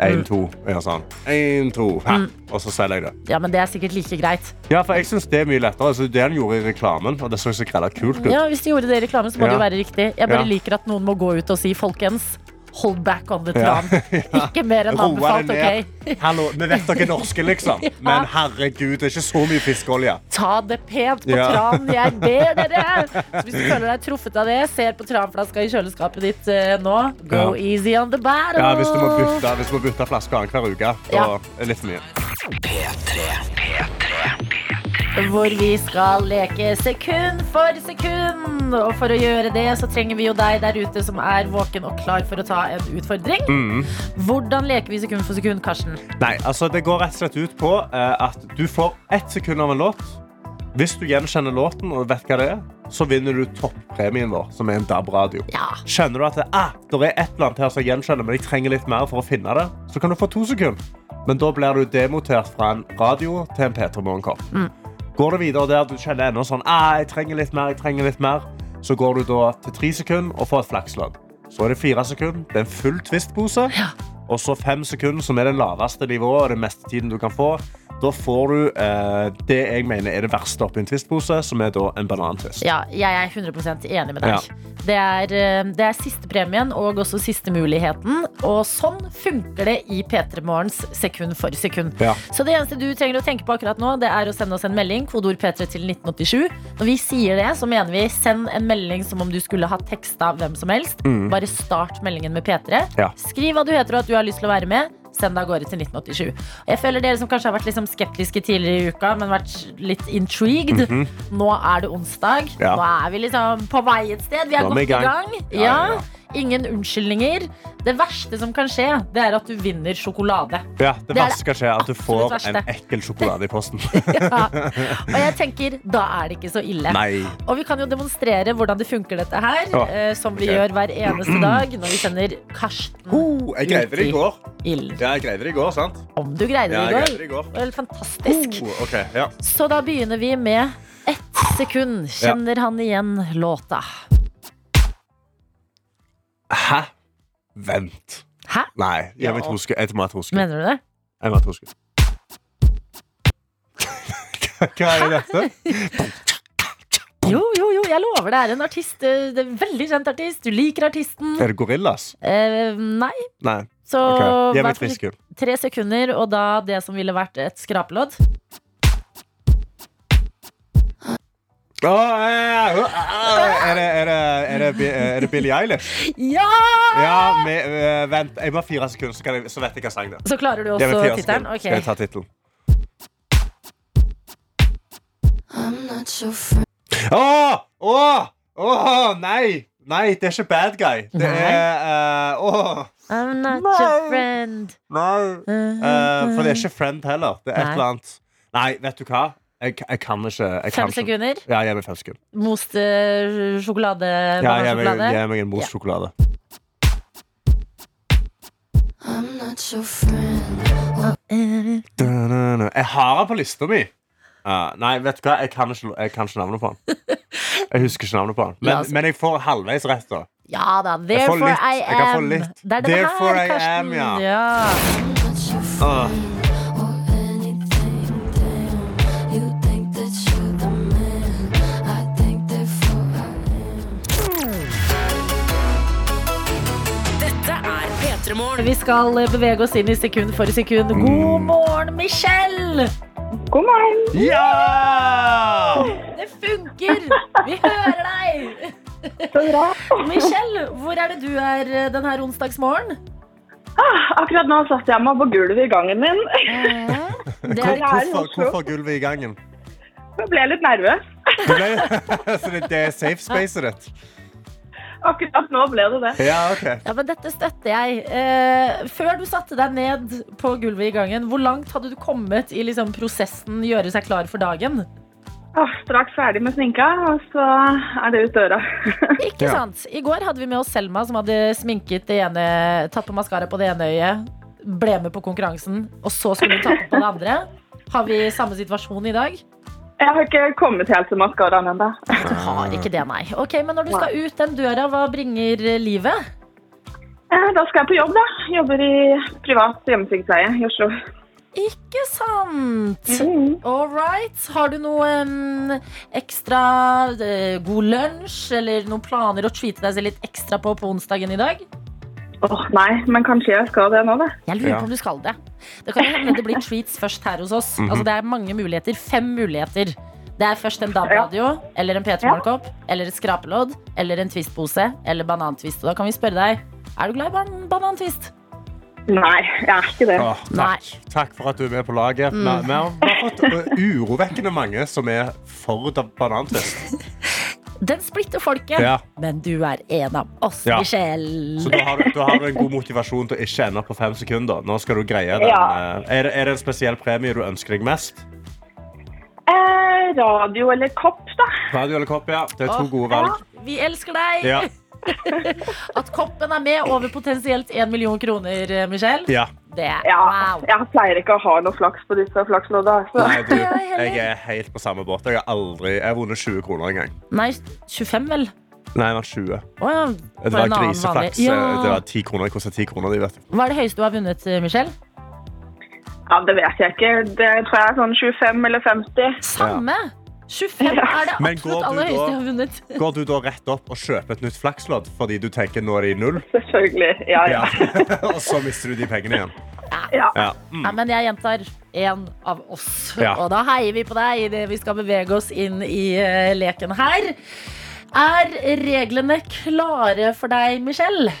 S2: Mm.
S3: én, to. og Gjør sånn. Én, to, ha. Og så selger jeg det.
S2: Ja, men det er sikkert like greit.
S3: Ja, for jeg synes det er mye lettere. Altså, det han gjorde i reklamen, og det så så grella kult ut.
S2: Ja, Hvis de gjorde det i reklamen, så må det jo
S3: Ja.
S2: være riktig. Jeg bare
S3: Ja.
S2: liker at noen må gå ut og si 'folkens, hold back on the
S3: Ja.
S2: tran'. Ikke mer enn
S3: Roa
S2: anbefalt,
S3: det ned.
S2: OK?
S3: Hallo, vi vet dere er norske, liksom. Men herregud, det er ikke så mye fiskeolje.
S2: Ta det pent på
S3: Ja.
S2: tran, jeg ber dere! Så hvis du føler deg truffet av det, ser på tranflaska i kjøleskapet ditt eh, nå, go
S3: Ja.
S2: easy on the battle!
S3: Ja, Hvis du må bytte, hvis du må bytte flaske annenhver uke, da
S2: Ja.
S3: er det litt for mye.
S2: hvor vi skal leke sekund for sekund. Og for å gjøre det så trenger vi jo deg der ute som er våken og klar for å ta en utfordring.
S3: Mm.
S2: Hvordan leker vi sekund for sekund, Karsten?
S3: Nei, altså Det går rett og slett ut på eh, at du får ett sekund av en låt. Hvis du gjenkjenner låten og vet hva det er, så vinner du toppremien vår, som er en DAB-radio.
S2: Ja.
S3: Skjønner du at det, ah, der er et eller annet her som jeg gjenkjenner, men jeg trenger litt mer for å finne det, så kan du få to sekunder. Men da blir du demotert fra en radio til en P3 Morgenkopp. Går du videre der du kjenner enda sånn ah, jeg trenger litt mer, jeg trenger litt mer, så går du da til tre sekunder og får et flakslønn. Så er det fire sekunder, det er en full twistpose. Og så fem sekunder, som er det laveste nivået og det meste tiden du kan få. Da får du eh, det jeg mener er det verste oppi en twistpose, som er da en banantvist.
S2: Ja, jeg er 100 enig med deg.
S3: Ja.
S2: Det, er, eh, det er siste premien og også siste muligheten. Og sånn funker det i P3 Morgens sekund for sekund.
S3: Ja.
S2: Så det eneste du trenger å tenke på akkurat nå, det er å sende oss en melding, kodeord P3 til 1987. Når vi sier det, så mener vi send en melding som om du skulle ha teksta hvem som helst. Bare start meldingen med P3.
S3: Mm. Ja.
S2: Skriv hva du heter og at du har lyst til å være med. Send deg av gårde til 1987. Og Jeg føler Dere som kanskje har vært liksom skeptiske tidligere i uka, men vært litt intrigued. Nå er det onsdag.
S3: Mhm. Ja.
S2: Nå er vi liksom på vei et sted. Vi er
S3: Nå er
S2: godt
S3: vi
S2: i
S3: i gang.
S2: gang.
S3: Ja, ja, ja.
S2: Ja, Ingen unnskyldninger. Det verste som kan skje, det er at du vinner sjokolade.
S3: Ja, det
S2: det
S3: verste skal skje er at du
S2: absolutt
S3: får en
S2: verste.
S3: ekkel sjokolade i posten.
S2: Ja. Og jeg tenker, da er det ikke så ille.
S3: Nei.
S2: Og vi kan jo demonstrere hvordan det funker, dette her.
S3: Ja.
S2: eh, som vi
S3: Ok.
S2: gjør hver eneste dag når vi sender Karsten
S3: Oh, jeg greide det i går.
S2: ild.
S3: Ja, jeg greide det i går, sant?
S2: Om du greide
S3: Ja,
S2: det i
S3: jeg greide det
S2: går.
S3: i går.
S2: Det var helt fantastisk.
S3: Oh, ok, ja.
S2: Så da begynner vi med ett sekund. Kjenner han igjen låta?
S3: Hæ? Vent.
S2: Hæ?
S3: Nei, jeg må ha to sekunder. Jeg må ha to sekunder.
S2: Mener du det?
S3: Jeg må ha to sekunder. Hva er dette?
S2: Jo, jo, jo, jeg lover det er en artist. eh, Det er en veldig kjent artist. Du liker artisten.
S3: Er det gorillas?
S2: Eh, nei,
S3: Nei.
S2: så
S3: Ok, Gi
S2: vær
S3: meg
S2: forsiktig.
S3: tre sekunder.
S2: tre sekunder, og da det som ville vært et skrapelodd.
S3: Å, eh, eh, Er det, er det, er det, Bi- er det Billie Eilish?
S2: Ja!
S3: Ja, men, eh, vent. Jeg må ha fire sekunder, så, kan jeg, så vet jeg hva sang det er.
S2: Så klarer du
S3: Gi meg
S2: også
S3: fire
S2: tittelen.
S3: sekunder.
S2: Ok.
S3: Skal jeg ta tittelen?
S6: I'm not your friend.
S3: Åh! Åh! Åh! Nei! Nei, det er ikke Bad Guy. Det
S2: Nei.
S3: er eh, Åh!
S2: I'm not your friend.
S3: Nei. Eh, for det er ikke Friend heller. Det er et
S2: Nei.
S3: eller annet Nei, vet du hva? Jeg, jeg kan ikke. Jeg
S2: Fem
S3: kan ikke.
S2: sekunder.
S3: Ja, gi meg fem sekunder.
S2: Most eh, sjokolade.
S3: Ja, gi meg,
S2: banansjokolade.
S3: gi meg en mors sjokolade.
S6: I'm not your friend.
S3: Da-da-da. Jeg har den på lista mi. Ja, nei, vet du hva? Jeg kan ikke, jeg kan ikke navnet på den. Jeg husker ikke navnet på den.
S2: La
S3: Men,
S2: oss-
S3: men jeg får halvveis rett, da.
S2: Ja da.
S3: Jeg får
S2: Therefore
S3: litt.
S2: I
S3: Jeg kan få
S2: am.
S3: litt.
S2: Det er den
S3: Therefore
S2: her,
S3: I
S2: Karsten.
S3: am, ja.
S6: I'm not your
S3: Åh.
S6: friend. Or anything, damn. You think that you're the man. I think therefore I am.
S1: Dette er P3 Morgen.
S2: Vi skal eh, bevege oss inn i sekund for sekund.
S3: Mm.
S2: God morgen, Michelle!
S7: God morgen.
S3: Ja!
S2: Det funker! Vi hører deg!
S7: Så bra.
S2: Michelle, hvor er det du er eh, denne onsdagsmorgen?
S5: Ah, akkurat nå satt jeg meg på gulvet i gangen min.
S2: Det
S5: er-
S2: er,
S5: Oslo.
S3: Hvorfor, hvorfor gulvet i gangen?
S5: Jeg ble litt nervøs.
S3: Du ble, så det, det er safe spacet ditt?
S5: Akkurat nå ble det det.
S3: Ja, OK.
S2: ja, men dette støtter jeg. Eh, før du satte deg ned på gulvet i gangen, hvor langt hadde du kommet i liksom, prosessen gjøre seg klar for dagen?
S5: Ah, straks ferdig med sminka, og så er det ut døra.
S2: Ikke
S3: Ja.
S2: sant? I går hadde vi med oss Selma, som hadde sminket det ene, tatt på maskara på det ene øyet, ble med på konkurransen, og så skulle hun ta på det andre. Har vi samme situasjon i dag?
S5: Jeg har ikke kommet helt til maskaraen ennå.
S2: Du har ikke det, nei. Ok, Men når du skal ut den døra, hva bringer livet?
S5: Eh, Da skal jeg på jobb, da. Jobber i privat hjemmesykepleie i Oslo.
S2: Ikke sant?
S5: Mm.
S2: All right. Har du noe em, ekstra eh, god lunsj eller noen planer å treate deg selv litt ekstra på på onsdagen i dag?
S5: Åh, nei, men kanskje jeg skal det nå, da.
S2: Jeg lurer
S3: Ja.
S2: på om du skal det. Det kan jo hende det blir treats først her hos oss.
S3: Mhm.
S2: Altså Det er mange muligheter. Fem muligheter. Det er først en DAB-radio eller en P3 Morgenkopp eller et skrapelodd eller en Twist-pose eller banantvist. Og da kan vi spørre deg er du glad i ban banantvist.
S5: Nei, jeg er ikke det.
S3: Åh,
S2: Nei.
S3: takk. takk for at du er med på laget. Nei, Vi har vi har fått uh, urovekkende mange som er for da- banantvist.
S2: Den splitter folket,
S3: Ja.
S2: men du er en av oss,
S3: Ja.
S2: Michelle.
S3: Så da har, du- da har du en god motivasjon til å ikke ende opp på fem sekunder. Nå skal du greie den.
S5: Ja.
S3: eh, Er, det- er det en spesiell premie du ønsker deg mest?
S5: Eh, radio eller kopp, da.
S3: Radio eller kopp, ja. Det er to
S2: Åh,
S3: gode valg.
S2: Vi elsker deg!
S3: Ja.
S2: At koppen er med over potensielt én million kroner, eh, Michelle.
S3: ja.
S2: Det er
S5: Ja,
S2: wow.
S5: jeg pleier ikke å ha noe flaks på disse flakslodda. Så.
S3: Nei, du,
S2: heller.
S3: jeg er helt på samme båt. Jeg har aldri jeg har vunnet 20 kroner engang.
S2: Nei, 25, vel?
S3: Nei, jeg vant 20.
S2: Å ja.
S3: Det
S2: for
S3: var
S2: en annen
S3: griseflaks.
S2: vanlig.
S3: eh,
S2: Ja.
S3: Det var 10 kroner. Det kostet 10 kroner. De vet.
S2: Hva er det høyeste du har vunnet, eh, Michelle?
S5: Ja, det vet jeg ikke. Det tror jeg er sånn 25 eller 50.
S2: Samme! 25 er det
S3: Men går
S2: absolutt
S3: du
S2: aller høyeste
S3: da-
S2: jeg har vunnet.
S3: Går du da rett opp og kjøper et nytt flakslodd fordi du tenker nå er de i null?
S5: Selvfølgelig. Ja, ja.
S3: og så mister du de pengene igjen.
S5: ja.
S3: Ja.
S2: Nei, men jeg gjentar én av oss.
S3: Mm. Ja.
S2: Og da heier vi på deg idet vi skal bevege oss inn i eh, leken her. Er reglene klare for deg, Michelle?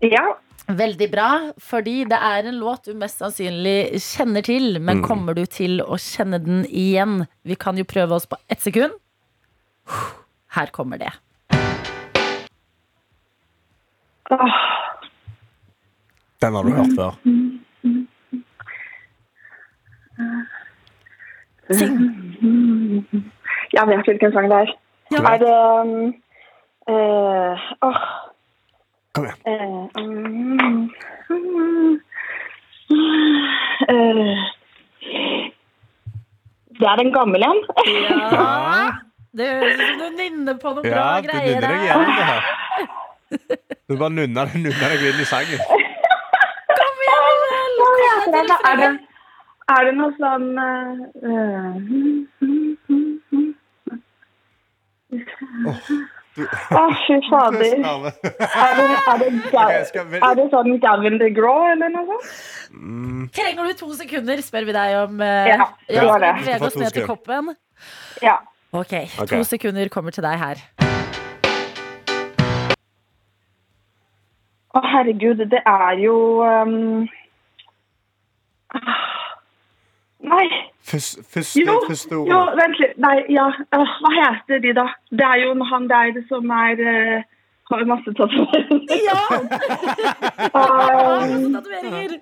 S5: ja.
S2: Veldig bra, fordi det er en låt du mest sannsynlig kjenner til.
S3: Mm.
S2: Men kommer du til å kjenne den igjen? Vi kan jo prøve oss på ett sekund. Her kommer det.
S3: Den har du hørt før.
S5: Jeg vet hvilken sang det er. Er det um, eh, åh,
S3: Kom igjen.
S5: eh, mm, mm, eh, Det er en gammel en.
S2: Ja. Det høres ut som du nynner på noen bra
S3: Ja, du
S2: greier.
S3: nynner deg
S2: her.
S3: gjennom det her. Du bare nynner, nynner deg inn i sangen.
S5: Hva heter den? da? Er det, er det noe sånn eh, mm, eh, Å, fy fader.
S3: Arve.
S5: Er det, er det,
S3: Ok, skal vi-
S5: er det sånn Gavin de Grå eller noe sånt?
S2: Trenger du to sekunder, spør vi deg om. eh,
S5: Ja, det
S2: ja,
S5: var
S2: skal vi
S5: det.
S2: bevege oss
S3: Du får to
S2: ned til koppen.
S5: Ja.
S2: Ok,
S3: Ok.
S2: to sekunder kommer til deg her.
S5: Å, herregud, det er jo um... ah, Nei.
S3: Først- Første,
S5: Jo,
S3: første
S5: jo,
S3: ordet.
S5: vent litt. Nei, ja. Åh, hva heter de, da? Det er jo han der som er eh, har masse tatoveringer.
S2: Ja!
S5: Um,
S2: Tatoveringer!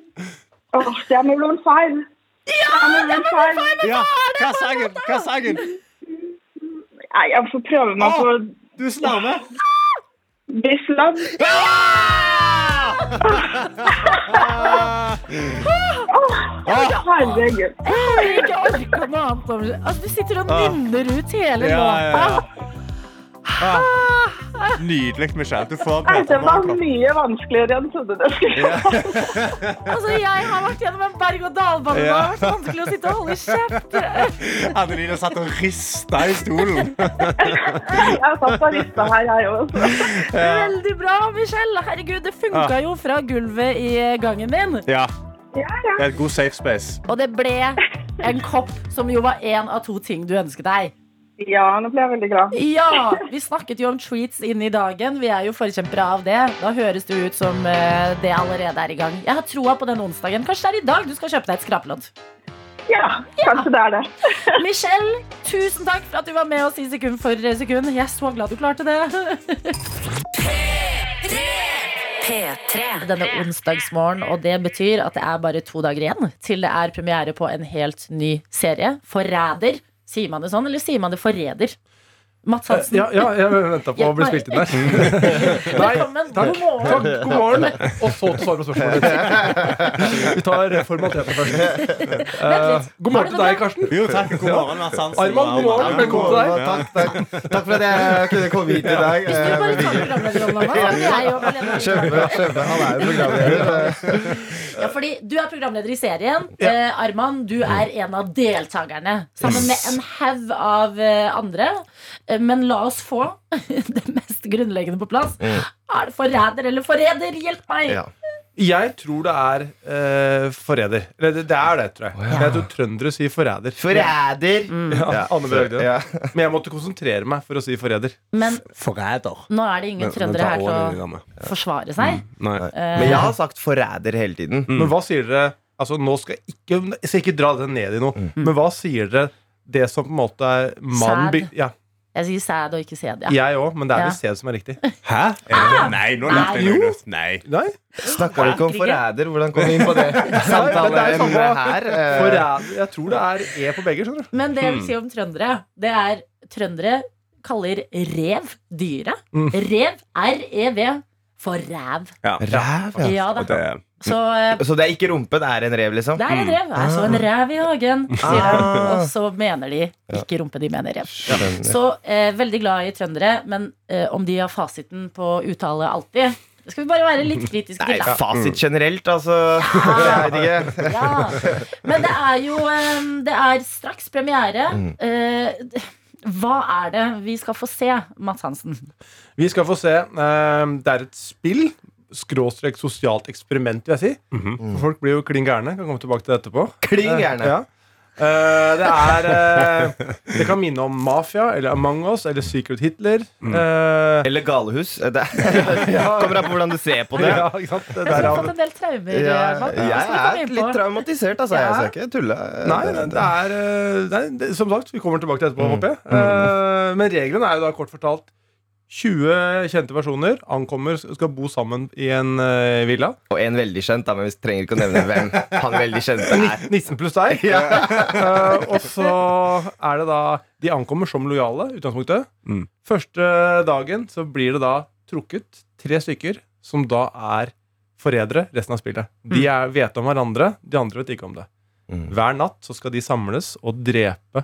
S5: åh, det er Melon 5. Ja, det er Melon 5.
S3: Ja, hva er sangen? Hva er sangen?
S5: Nei, jeg får prøve meg
S3: Åh.
S5: på
S3: Du Ah! er så nærme.
S5: This Love. Ah! Herregud.
S2: Jeg har ikke orka noe annet. Om. Altså, du sitter og
S3: Ah.
S2: nynner ut hele
S3: Ja, ja, ja.
S2: låta.
S3: Ah. Nydelig, Michelle. Du får
S5: Nei, det var
S3: Morgenkopp.
S5: mye vanskeligere enn jeg trodde det skulle være.
S2: Altså, jeg har vært gjennom en berg-og-dal-bane. Det har
S3: Ja.
S2: vært så vanskelig å sitte og holde kjeft.
S3: Adeline satt og rista i stolen.
S5: Jeg satt på lista her, jeg også.
S2: Veldig bra, Michelle. Herregud, det funka
S3: Ah.
S2: jo fra gulvet i gangen din.
S3: Ja,
S5: Ja, ja.
S3: det er et god safe space.
S2: Og det ble en kopp som jo var én av to ting du ønsket deg.
S5: Ja, nå ble jeg veldig glad.
S2: Ja! Vi snakket jo om treats inn i dagen. Vi er jo forkjempere av det. Da høres det ut som eh, det allerede er i gang. Jeg har troa på den onsdagen. Kanskje det er i dag du skal kjøpe deg et skrapelodd.
S5: Ja, kanskje det er det.
S2: Michelle, tusen takk for at du var med oss i Sekund for sekund. Jeg er så glad du klarte det.
S1: P3.
S2: denne onsdagsmorgen, og det betyr at det er bare to dager igjen til det er premiere på en helt ny serie. Forræder. Sier man det sånn, eller sier man det forræder? Mats Hansen.
S7: Ja, ja jeg venta på å bli spilt inn der. Nei,
S2: Velkommen.
S7: takk.
S2: God morgen.
S7: Takk, god morgen. Og så til svar på spørsmålet ditt. Vi tar formaliteten først. Eh, god morgen til deg, Karsten.
S8: Jo, takk. God morgen, Mads Hansen.
S7: Arman, god morgen.
S8: Ja,
S7: Velkommen til deg.
S9: Takk, takk. takk for at jeg kunne komme hit i dag.
S2: Hvis du
S9: eh,
S2: bare
S9: med
S2: tar
S9: Viggo.
S2: programlederrollen nå, og jeg og Helene
S9: Kjempe, kjempe. Han er jo programleder.
S2: Ja, fordi du er programleder i serien. Eh, Arman, du er en av deltakerne. Sammen med en haug av eh, andre. Eh, men la oss få det mest grunnleggende på plass. Er det forræder eller forræder? Hjelp meg!
S9: Ja.
S7: Jeg tror det er eh, forræder. Eller det, det er det, tror jeg. Jeg tror trøndere sier forræder.
S9: Forræder! Mm.
S7: Ja, Anne B. Høgde.
S9: Ja.
S7: Men jeg måtte konsentrere meg for å si forræder.
S2: Men
S8: Forræder.
S2: nå er det ingen trøndere her til å forsvare seg.
S8: Nei.
S2: Eh,
S9: Men jeg har sagt forræder hele tiden.
S7: Men hva sier dere Altså, nå skal jeg ikke, jeg skal ikke dra det ned i noe, men hva sier dere det som på en måte er mann
S2: Sæd.
S7: by- ja,
S2: jeg sier sæd og ikke sæd, ja.
S7: Jeg òg, men det er
S2: Ja.
S7: vel sæd som er riktig.
S3: Hæ? Er det det? Nei, nå lærte jeg noe nytt. Nei.
S7: Nei,
S9: Snakka du ikke om forræder? Hvordan kom vi inn på det? Samtalen her. eh,
S7: forræder. Jeg tror det er E på begge. skjønner du
S2: Men det jeg vil si om trøndere, det er trøndere kaller rev dyret.
S7: Mm.
S2: Rev, R-E-V, for ræv.
S9: Ræv, ja.
S2: Ja
S3: Og det
S2: da. Så eh,
S9: Så det er ikke rumpen, det er en rev, liksom?
S2: Det er en rev. Jeg så en rev i hagen, sier de.
S9: Ah.
S2: Og så mener de ikke rumpe, de mener rev.
S9: Skjønner.
S2: Så eh, veldig glad i trøndere, men eh, om de har fasiten på uttale alltid, skal vi bare være litt kritiske
S9: Nei,
S2: til. da.
S9: fasit generelt, altså. Jeg vet ikke.
S2: Ja. Men det er jo eh, Det er straks premiere. Eh, hva er det vi skal få se, Mats Hansen?
S7: Vi skal få se. eh, Det er et spill. Skråstrek sosialt eksperiment, vil jeg si. For Folk blir jo klin gærne. Kan komme tilbake til det etterpå.
S9: Kling gjerne.
S7: Ja. Eh, det er eh, Det kan minne om Mafia eller Among Us eller Secret Hitler. Eh,
S9: Eller galehus. Det kommer an på hvordan du ser på det.
S7: ja, ikke sant? Det
S2: Jeg
S7: der
S2: har
S7: er
S2: fått en del traumer.
S9: Ja,
S2: Arman. Hva skal vi komme
S9: jeg er
S2: inn på?
S9: litt traumatisert, altså. Jeg skal ikke tulle.
S7: Nei, det det er eh, nei, det, Som sagt, vi kommer tilbake til etterpå, håper jeg. Eh, Men reglene er jo da kort fortalt 20 kjente personer ankommer, skal bo sammen i en eh, villa.
S9: Og en veldig kjent, da, men vi trenger ikke å nevne hvem han veldig kjente er.
S7: 19 pluss deg. Eh, og så er det da De ankommer som lojale, utgangspunktet.
S3: Mm.
S7: Første dagen så blir det da trukket tre stykker som da er forrædere resten av spillet. De
S2: Mm.
S7: er, vet om hverandre, de andre vet ikke om det.
S9: Mm.
S7: Hver natt så skal de samles og drepe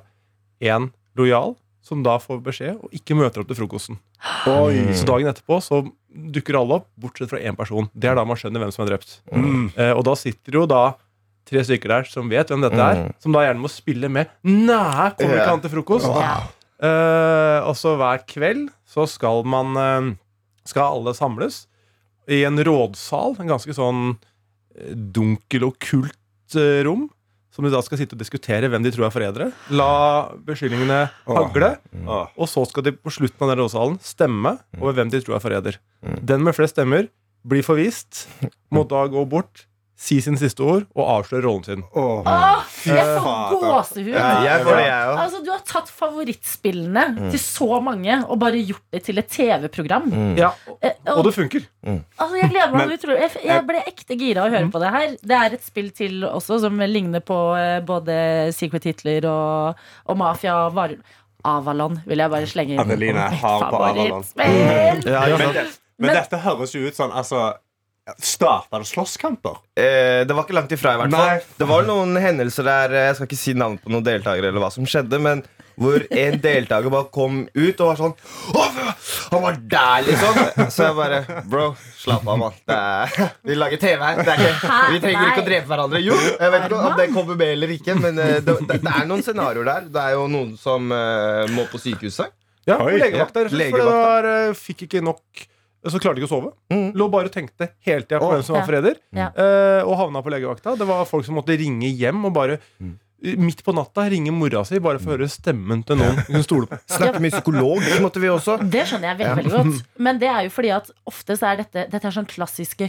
S7: en lojal, som da får beskjed og ikke møter opp til frokosten. Mm. Så dagen etterpå så dukker alle opp, bortsett fra én person. Det er da man skjønner hvem som er drept.
S2: Mm.
S7: Eh, og da sitter jo da tre stykker der som vet hvem dette er, som da gjerne må spille med. Nei, kommer ikke han til frokost?
S2: Mm. Ja.
S7: Eh, og så hver kveld så skal man eh, Skal alle samles i en rådsal, en ganske sånn eh, dunkel og kult eh, rom. Som de da skal sitte og diskutere hvem de tror er forrædere. La beskyldningene hagle.
S3: Åh. Mm.
S7: Og så skal de på slutten av den rådsalen stemme over hvem de tror er forræder. Den med flest stemmer blir forvist, må da gå bort, si sin siste ord og avsløre rollen sin.
S3: Åh.
S2: Åh, jeg får
S3: fader.
S2: gåsehud!
S9: altså. Ja, jeg får det, jeg òg.
S2: Altså, Du har tatt favorittspillene til så mange og bare gjort det til et TV-program.
S7: Ja, og,
S2: Eh,
S7: og
S2: og,
S7: det funker.
S2: altså, jeg gleder meg
S3: Men- Mm.
S2: utrolig. Jeg, f- jeg ble ekte gira av å høre på det her. Det er et spill til også som ligner på eh, både Secret Hitler og, og Mafia. og Varul- Avalon vil jeg bare slenge inn.
S3: Adeline er hard på Avalon.
S2: Favorittspill.
S9: Ja,
S3: Men,
S9: ikke sant?
S3: det, men
S2: Men-
S3: dette høres jo ut sånn altså, Starta det slåsskamper?
S9: Eh, det var ikke langt ifra, i hvert
S3: Nei.
S9: fall. Det var noen hendelser der eh, Jeg skal ikke si navn på noen deltakere, eller hva som skjedde, men hvor en deltaker bare kom ut og var sånn Å, Han var der, liksom! Så jeg bare Bro, slapp av, mann. Det er- Vi lager TV her. Det er ikke, vi trenger ikke å drepe hverandre. Jo, jeg vet ikke om det kommer med eller ikke, men eh, det, det, det er noen scenarioer der. Det er jo noen som eh, må på sykehuset.
S7: Ja,
S3: Oi.
S7: legevakta. rett og slett, fordi
S9: Legevakta.
S7: det var, eh, fikk ikke nok så klarte ikke å sove.
S9: Mm.
S7: Lå bare og tenkte hele tida på
S9: Åh.
S7: hvem som var
S2: Ja.
S7: forræder.
S2: Ja.
S7: eh, Og havna på legevakta. Det var folk som måtte ringe hjem og bare midt på natta ringer mora si bare for å høre stemmen til noen hun stoler på.
S9: Snakke med psykolog måtte vi også.
S2: Det skjønner jeg veldig, veldig godt. Men det er jo fordi at ofte så er dette Dette er sånn klassiske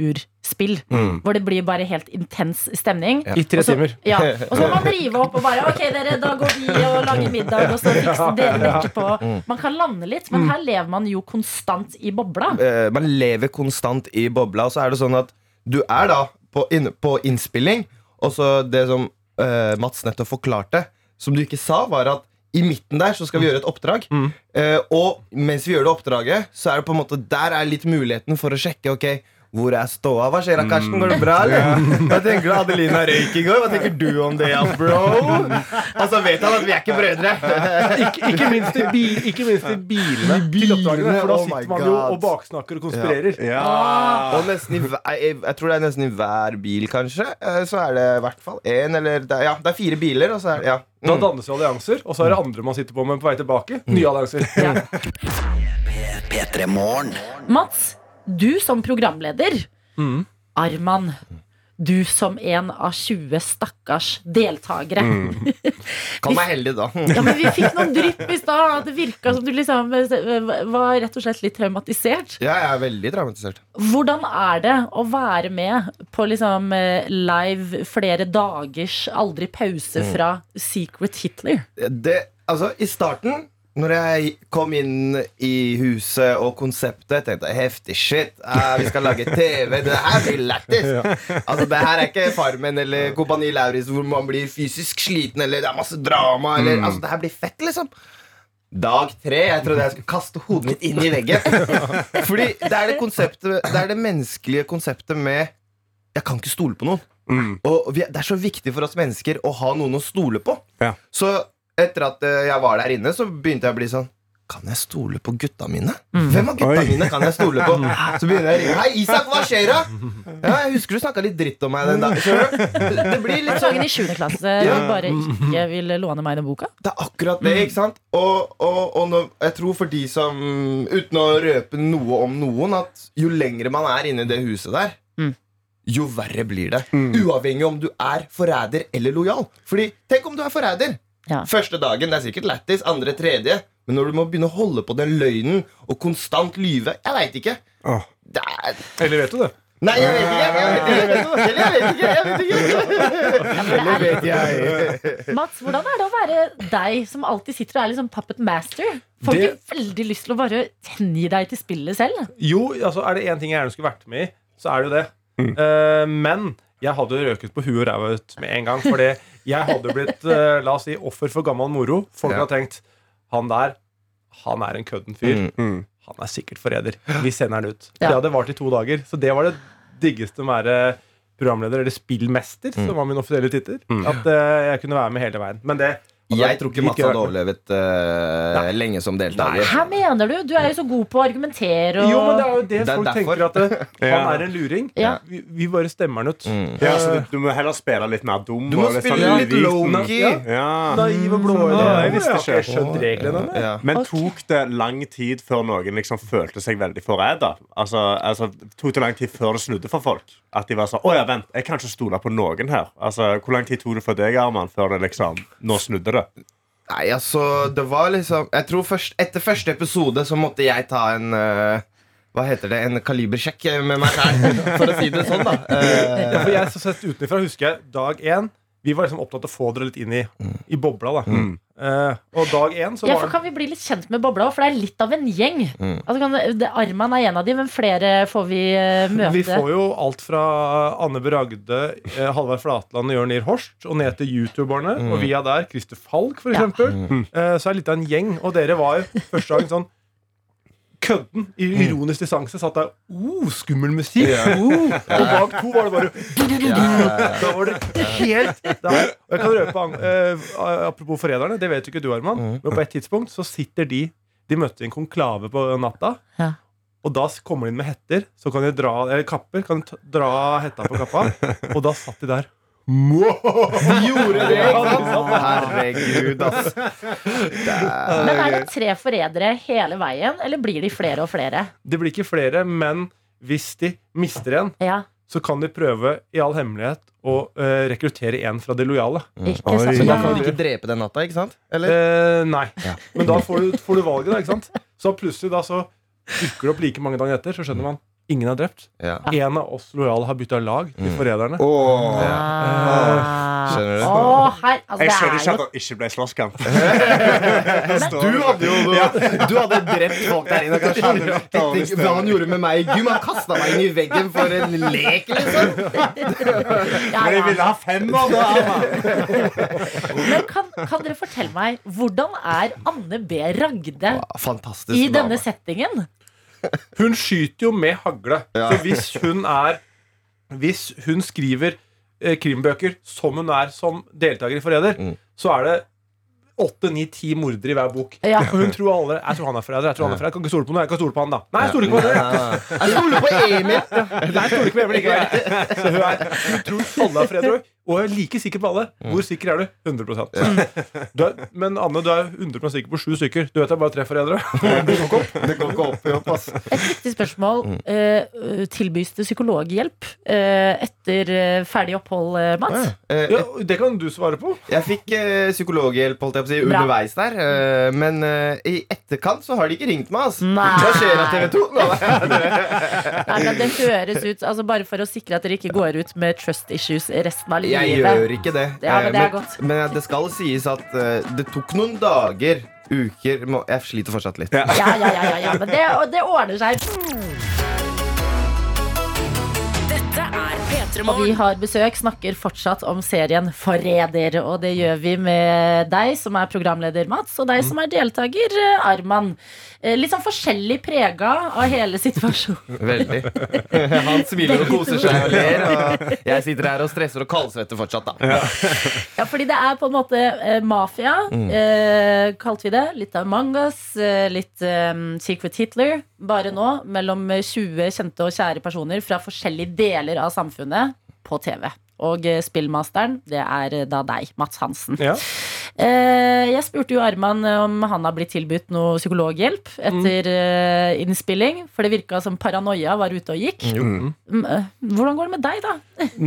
S2: hytteturspill. Hvor det blir bare helt intens stemning.
S7: I tre
S2: Og så-
S7: timer.
S2: Ja, Og så må man drive opp og bare Ok, dere, da går vi og lager middag, og så fikser dere dekker på. Man kan lande litt, men her lever man jo konstant i bobla.
S9: Eh, man lever konstant i bobla, og så er det sånn at du er da på, inn- på innspilling, og så det som eh, Mats nettopp forklarte, som du ikke sa, var at i midten der så skal
S7: Mm.
S9: vi gjøre et oppdrag. Eh, og mens vi gjør det oppdraget, så er det på en måte der er litt muligheten for å sjekke. ok, hvor er ståa? Hva skjer da, Karsten?
S7: Mm.
S9: Går det bra, eller? Hva tenker du Adelina røyk i går? Hva tenker du om det, ja, bro? Og så vet han at vi er ikke brødre.
S7: Ikke, ikke, minst i bi, ikke minst i bilene til oppdragene, for da
S9: oh my
S7: sitter man jo
S9: God.
S7: og baksnakker og konspirerer.
S9: Og nesten i, hver- jeg, jeg tror det er nesten i hver bil, kanskje. eh, Så er det i hvert fall én eller det er, Ja, det er fire biler, og så er det ja.
S7: Da dannes jo allianser, og så er det andre man sitter på med på vei tilbake. Nye allianser.
S4: P3 Morgen.
S2: Mats, du som programleder. Arman, du som en av 20 stakkars deltakere.
S9: Kall meg heldig, da.
S2: Ja, men Vi fikk noen drypp i stad. at Det virka som du liksom eh, var rett og slett litt traumatisert.
S9: Ja, jeg er veldig traumatisert.
S2: Hvordan er det å være med på liksom eh, live flere dagers aldri pause
S7: Mm.
S2: fra Secret Hitler?
S9: Det, altså, I starten, når jeg kom inn i huset og konseptet, tenkte jeg heftig shit. eh, vi skal lage TV. Det her blir lættis. Altså, det her er ikke Farmen eller Kompani Lauritz hvor man blir fysisk sliten eller det er masse drama. Eller, altså, det her blir fett, liksom. Dag tre. Jeg trodde jeg skulle kaste hodet mitt inn i veggen. Fordi det er det, konseptet, det er det menneskelige konseptet med Jeg kan ikke stole på noen.
S3: Mm.
S9: Og vi, det er så viktig for oss mennesker å ha noen å stole på.
S3: Ja.
S9: Så etter at eh, jeg var der inne, så begynte jeg å bli sånn Kan jeg stole på gutta mine? Hvem av gutta
S3: Oi.
S9: mine kan jeg stole på? Så begynner jeg å ringe. Hei, Isak, hva skjer da? Ja, jeg husker du snakka litt dritt om meg den dagen. skjønner du? Det blir litt sånn
S2: Sangen i 7. klasse
S9: Ja.
S2: bare ikke vil låne meg den boka.
S9: det er akkurat det, ikke sant? Og, og, og når, jeg tror for de som Uten å røpe noe om noen, at jo lengre man er inne i det huset der,
S2: Mm.
S9: jo verre blir det. Uavhengig om du er forræder eller lojal. Fordi, tenk om du er forræder!
S2: Ja.
S9: Første dagen, det er sikkert lættis. Andre, tredje. Men når du må begynne å holde på den løgnen og konstant lyve Jeg veit ikke.
S3: Åh.
S9: Det er
S7: Eller vet du det?
S9: Nei, jeg vet ikke! Jeg vet ikke! Jeg vet ikke! Jeg vet ikke! Jeg vet ikke. Eller vet jeg.
S2: Mats, hvordan er det å være deg som alltid sitter og er liksom puppet master? Får
S7: Det-
S2: ikke veldig lyst til å bare hengi deg til spillet selv?
S7: Jo, altså er det én ting jeg gjerne skulle vært med i, så er det jo det.
S9: Mm.
S7: Eh, men jeg hadde røket på huet og ræva ut med en gang. Fordi jeg hadde blitt eh, la oss si, offer for gammel moro. Folk
S9: Ja.
S7: har tenkt han der han er en kødden fyr.
S9: Mm,
S7: Han er sikkert forræder. Vi sender han ut.
S2: Ja.
S7: Det hadde vart i to dager. Så det var det diggeste med å være programleder, eller spillmester,
S9: Mm.
S7: som var min offisielle tittel. At eh, jeg kunne være med hele veien. Men det hadde vært
S9: Jeg tror ikke Mats
S7: dritgøy å
S9: hadde
S7: være med.
S9: overlevet eh, lenge som deltaker.
S2: Hæ, mener du? Du er jo så god på å argumentere og
S7: Jo, men det er jo det,
S9: Det er
S7: folk
S9: derfor.
S7: tenker. At det, han
S3: Ja. Mm.
S7: er en luring.
S2: Ja.
S7: Vi, vi bare stemmer han ut.
S3: Ja, så du, du må heller spille litt mer dum.
S9: Du må
S3: og litt
S9: spille
S3: sånn
S9: litt
S3: uviten.
S9: low-key.
S3: Ja.
S7: Naiv og blåøyd.
S3: Ja, jeg visste ikke.
S7: Jeg skjønte reglene. men-
S9: Ja.
S3: Men tok det lang tid før noen liksom følte seg veldig forræda? Altså, altså, tok det lang tid før det snudde for folk? At de var sånn Å ja, vent, jeg kan ikke stole på noen her. Altså, Hvor lang tid tok det for deg, Arman, før det liksom Nå snudde det?
S9: Nei, altså, det var liksom Jeg tror først, Etter første episode så måtte jeg ta en eh, Hva heter det? En kalibersjekk med meg selv, for å si det sånn, da. Eh,
S7: Ja, for jeg så sett utenfra husker jeg dag én Vi var liksom opptatt av å få dere litt inn i,
S3: Mm.
S7: i bobla. da Eh, Og dag én så
S2: Ja, for
S7: var
S2: kan vi bli litt kjent med bobla, for det er litt av en gjeng.
S9: Mm.
S2: Altså, kan, det, Arman er en av de, men flere får vi eh, møte.
S7: vi får jo alt fra Anne B. Ragde, eh, Halvard Flatland og Jørn Lier Horst, og ned til youtuberne. Og via der Christer Falk, for
S2: Ja.
S7: eksempel. Eh, Så er det litt av en gjeng. Og dere var jo første dagen sånn Kødden i ironisk distanse satt der. Oh, skummel musikk! Oh. Og bak to var det bare Da var det helt der. Og jeg kan røpe an- eh, Apropos forræderne, det vet jo ikke du, Arman. Men på et tidspunkt så sitter de De møtte en konklave på natta.
S2: Ja.
S7: Og da s- kommer de inn med hetter, så kan de dra, eller kapper. Kan de t- dra hetta på kappa. Og da satt de der.
S9: Gjorde det, ikke sant? Herregud, ass.
S2: Men er det tre forrædere hele veien, eller blir de flere og flere?
S7: Det blir ikke flere, men hvis de mister en,
S2: Ja.
S7: så kan de prøve i all hemmelighet å eh, rekruttere en fra de lojale.
S2: Ikke sant?
S9: Så da
S2: Ja.
S9: kan du ikke drepe den natta, ikke sant? Eller?
S7: Eh, nei.
S9: Ja.
S7: Men da får du, får du valget, da. ikke sant? Så plutselig da så dukker det opp like mange dager etter, så skjønner man ingen er drept.
S9: Ja.
S7: En av oss lojale har bytta lag til
S9: Mm.
S7: forræderne.
S3: Åh.
S2: Ah.
S9: Skjønner du?
S2: Å, hei, altså,
S3: Jeg
S2: det
S3: skjønner
S2: er
S3: ikke
S2: jo
S3: at det ikke ble slåsskamp.
S9: Du hadde jo du hadde drept folk der inne. Kanskje.
S3: Ja.
S9: Etter hva han gjorde med meg i gym. Han kasta meg inn i veggen for en lek, liksom.
S2: ja,
S3: Men jeg
S2: ja.
S3: ville ha femmer, da! Anna.
S2: Men kan, kan dere fortelle meg, hvordan er Anne B. Ragde
S9: Fantastisk.
S2: i
S9: dame.
S2: denne settingen?
S7: Hun skyter jo med hagle.
S9: Ja.
S7: Så hvis hun er Hvis hun skriver eh, krimbøker som hun er som deltaker i Forræder,
S9: Mm.
S7: så er det åtte, ni, ti mordere i hver bok.
S2: Ja.
S7: Og hun tror alle Jeg tror han er forræder. Jeg tror han er forræder. Jeg Kan ikke stole på noe. Jeg kan stole på han, da. Nei, jeg stoler ikke på det.
S9: Ja. Jeg stoler på Emil.
S7: Nei, jeg stoler ikke på Emil likevel. Så hun, er, hun tror alle er forrædere. Og jeg er like sikker på alle. Hvor sikker er du? 100 du er, Men Anne, du er 100 sikker på sju stykker. Du vet det er bare tre forrædere.
S9: Det går ikke opp i opp, ass.
S2: Et viktig spørsmål.
S9: Mm.
S2: Eh, tilbys det psykologhjelp eh, etter eh, ferdig opphold, eh, Mats?
S9: Eh,
S7: Ja, det kan du svare på.
S9: Jeg fikk eh, psykologhjelp holdt jeg på å si,
S2: Bra.
S9: underveis der, eh, men eh, i etterkant så har de ikke ringt meg. ass
S2: Nei.
S9: Hva skjer av TV 2? Nei.
S2: Nei, men det høres ut, altså Bare for å sikre at dere ikke går ut med trust issues resten av livet.
S9: Jeg gjør ikke det.
S2: Ja, men det er
S9: Eh,
S2: godt.
S9: men det skal sies at eh, det tok noen dager, uker må, Jeg sliter fortsatt litt.
S2: Ja, ja, ja, ja, ja men det, og det ordner seg.
S1: Dette er P3
S2: Og vi
S1: Morgen.
S2: har besøk, snakker fortsatt om serien Forræder. Og det gjør vi med deg som er programleder, Mats, og deg som er deltaker, eh, Arman. Eh, Litt sånn forskjellig prega av hele situasjonen.
S9: Veldig. Han smiler og koser seg og ler. Og jeg sitter her og stresser og kaldsvetter fortsatt, da.
S2: Ja, fordi det er på en måte eh, mafia, eh, kalte vi det. Litt av Mangas, eh, litt eh, Secret Hitler. Bare nå mellom 20 kjente og kjære personer fra forskjellige deler av samfunnet på TV. Og eh, spillmasteren, det er eh, da deg, Mats Hansen.
S7: Ja.
S2: Eh, jeg spurte jo Arman eh, om han har blitt tilbudt noe psykologhjelp etter eh, innspilling. For det virka som paranoia var ute og gikk. Mm, eh, Hvordan går det med deg, da?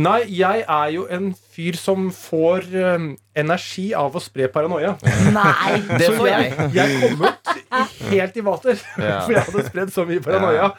S7: Nei, jeg er jo en fyr som får eh, energi av å spre paranoia.
S2: Nei,
S9: Det får jeg.
S7: Jeg kom ut i, helt i vater,
S9: Ja.
S7: for jeg hadde spredd så mye paranoia.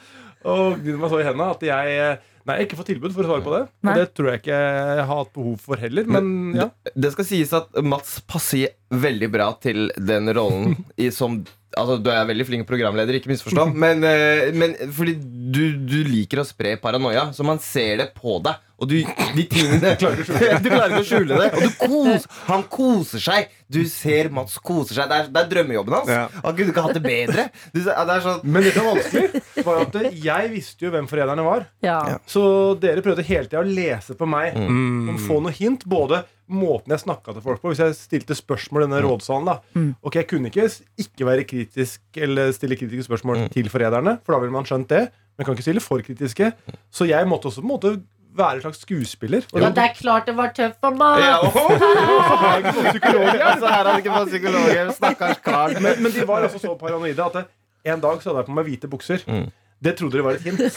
S7: Og gud meg så i hendene at jeg eh, Nei, jeg har ikke fått tilbud for å svare på det.
S2: Nei.
S7: Og det tror jeg ikke jeg har hatt behov for heller. Men ja.
S9: Det skal sies at Mats passer veldig bra til den rollen i, som Altså, Du er veldig flink programleder, ikke misforstå. Men, eh, men fordi du, du liker å spre paranoia, så man ser det på deg. Og du, de tingene, du klarer ikke å skjule det. Og du kos, han koser seg. Du ser Mats koser seg. Det er, det er drømmejobben hans.
S3: Ja.
S9: Han kunne ikke hatt det bedre. Du, ser- ja, det er sånn
S7: Men det som var vanskelig, var at jeg visste jo hvem forræderne var.
S2: ja.
S7: Så dere prøvde hele tida å lese på meg om å få noe hint. Både måten jeg snakka til folk på, hvis jeg stilte spørsmål i denne rådsalen. da Ok, Jeg kunne ikke s- ikke være kritisk eller stille kritiske spørsmål til forræderne, for da ville man skjønt det. Men jeg kan ikke stille for kritiske. Så jeg måtte også på en måte være en slags skuespiller. Og
S2: ja, det er klart det var tøft for meg.
S9: ja, oh, altså, Her hadde ikke fått psykologer. Stakkars kar.
S7: men, men de var altså så paranoide at det, en dag så hadde jeg på meg hvite bukser.
S9: Mm.
S7: Det trodde dere var et hint. da,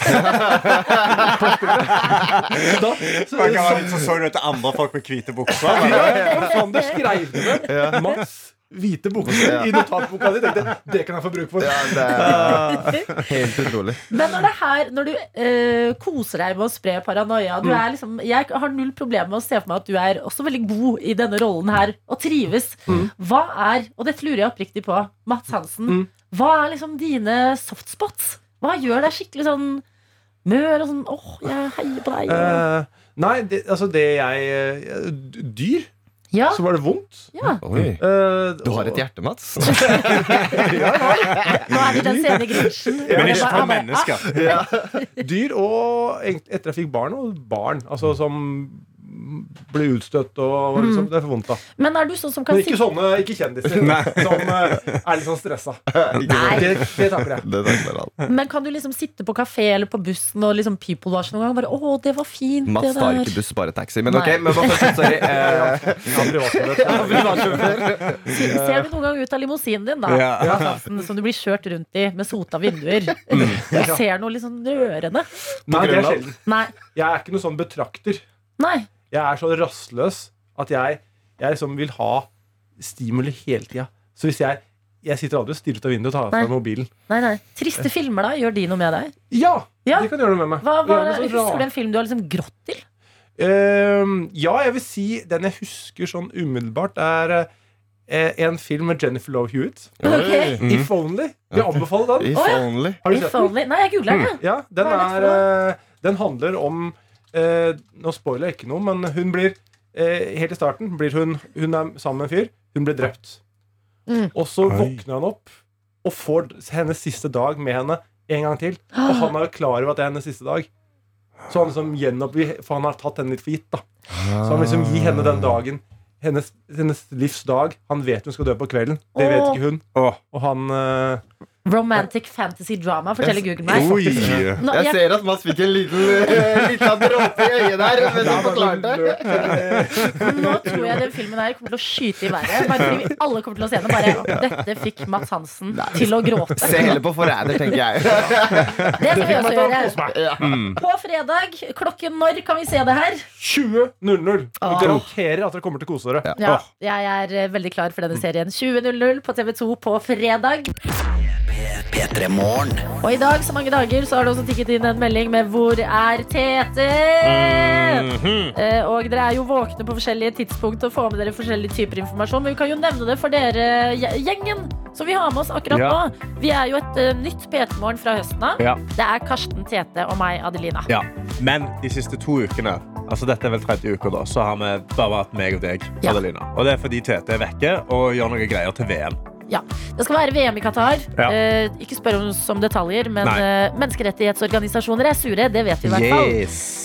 S7: så,
S3: Man kan
S7: så,
S3: være litt så så du etter andre folk med hvite bukser. eller?
S7: Sander skrev det med Mats hvite bukser i notatboka di. Tenkte, det kan jeg få bruk for.
S9: Ja, det er helt utrolig.
S2: Men når, det her, når du eh, koser deg med å spre paranoia
S7: Mm.
S2: du er liksom, Jeg har null problem med å se for meg at du er også veldig god i denne rollen her og trives.
S7: Mm.
S2: Hva er, og dette lurer jeg oppriktig på, Mats Hansen, hva er liksom dine softspots? Hva gjør deg skikkelig sånn mør og sånn åh, jeg heier på deg.
S7: Eh, nei, det, altså det jeg eh, d- Dyr,
S2: ja,
S7: så var det vondt.
S2: ja,
S9: Oi.
S7: Eh,
S9: Du har et hjerte, Mats.
S2: nå er vi den sene Grinchen.
S3: Men ikke for
S2: Han bare, ah,
S3: mennesker.
S7: Dyr og eng- etter jeg fikk barn, og barn. Altså som ble utstøtt og liksom, Det er for vondt, da.
S2: Men er du sånn som kan
S7: Men ikke sånne ikke kjendiser som eh, er litt sånn stressa. Det, det takker jeg.
S9: Det sånn takler han.
S2: Men kan du liksom sitte på kafé eller på bussen og liksom people watch noen gang? og Bare, Å, det var fint, det
S9: Mats tar ikke
S2: der.
S9: buss, bare taxi. Men
S2: Nei.
S9: ok, men bare først, sorry. eh,
S7: Ja, privatsjåfør.
S2: Se- Ser du noen gang ut av limousinen din, da?
S3: Ja.
S2: Hansen, Som du blir kjørt rundt i med sota vinduer. Jeg ser noe litt sånn rørende.
S7: Nei, det er sjelden.
S2: Nei.
S7: Jeg er ikke noen sånn betrakter.
S2: Nei.
S7: Jeg er så rastløs at jeg, jeg liksom vil ha stimuli hele tida. Så hvis jeg Jeg sitter aldri og stirrer ut av vinduet og tar
S2: Nei.
S7: fra mobilen.
S2: Nei, nei. Triste filmer, da? Gjør de noe med deg?
S7: Ja!
S2: Ja.
S7: De kan gjøre noe med meg.
S2: Hva,
S7: Og
S2: hva,
S7: gjerne sånn
S2: husker
S7: rart.
S2: du en film du har liksom grått til?
S7: Ehm, ja, jeg vil si den jeg husker sånn umiddelbart, er eh, en film med Jennifer Love Hewitt.
S2: Ok.
S7: If Only. Jeg anbefaler den.
S9: If
S2: Å, ja.
S9: only.
S7: Har du
S2: If
S7: sett den? Mm.
S2: only. Nei, jeg googla den. jeg.
S7: Ja, den,
S2: Hva er
S7: er,
S2: det
S7: eh, den handler om eh, Nå spoiler jeg ikke noe, men hun blir eh, Helt i starten blir hun, hun er sammen med en fyr. Hun blir drept.
S2: Mm.
S7: Og så
S3: Oi.
S7: våkner han opp og får d- hennes siste dag med henne en gang til. Og han er jo klar over at det er hennes siste dag. Så han liksom gjenoppgir For han har tatt henne litt for gitt. da Så han liksom gir henne den dagen. Hennes, hennes livs dag. Han vet hun skal dø på kvelden. Det vet
S2: Åh.
S7: ikke hun.
S3: Åh.
S7: Og han eh,
S2: Romantic fantasy drama, forteller Google meg.
S3: Oi.
S2: Nå,
S9: Jeg
S2: jeg,
S9: ser at Mats fikk en liten, eh, liten dråpe i øyet der. Men han forklarte det.
S2: nå tror jeg den filmen her kommer til å skyte i været. Bare fordi vi alle kommer til å se den. Bare, dette fikk Mats Hansen til å gråte.
S9: Se heller på forræder, tenker jeg.
S2: Det skal vi også gjøre.
S9: Mm.
S2: På fredag, klokken når kan vi se det her?
S7: 20.00.
S2: Ah.
S7: Og garanterer at dere kommer til å kose dere.
S2: Ja,
S3: Ah,
S2: jeg er eh, veldig klar for denne serien. 20.00 på TV2 på fredag.
S4: P3 Morgen.
S2: Og i dag, som mange dager, så har det også tikket inn en melding med 'Hvor er Tete?'
S3: Mm. Mhm.
S2: Eh, Og dere er jo våkne på forskjellige tidspunkt og får med dere forskjellige typer informasjon. Men vi kan jo nevne det for dere gje- gjengen som vi har med oss akkurat
S3: Ja.
S2: nå. Vi er jo et eh, nytt PT-morgen fra høsten av.
S3: Ja.
S2: Det er Karsten, Tete og meg, Adelina.
S3: Ja. Men de siste to ukene altså dette er vel tredje uka da, så har vi bare vært meg og deg.
S2: Ja.
S3: Adelina. Og Det er fordi Tete er vekke og gjør noen greier til VM.
S2: Ja, Det skal være VM i Qatar.
S3: Ja.
S2: Eh, ikke spør oss om detaljer, men
S3: Nei.
S2: eh, menneskerettighetsorganisasjoner er sure. Det vet vi i hvert fall.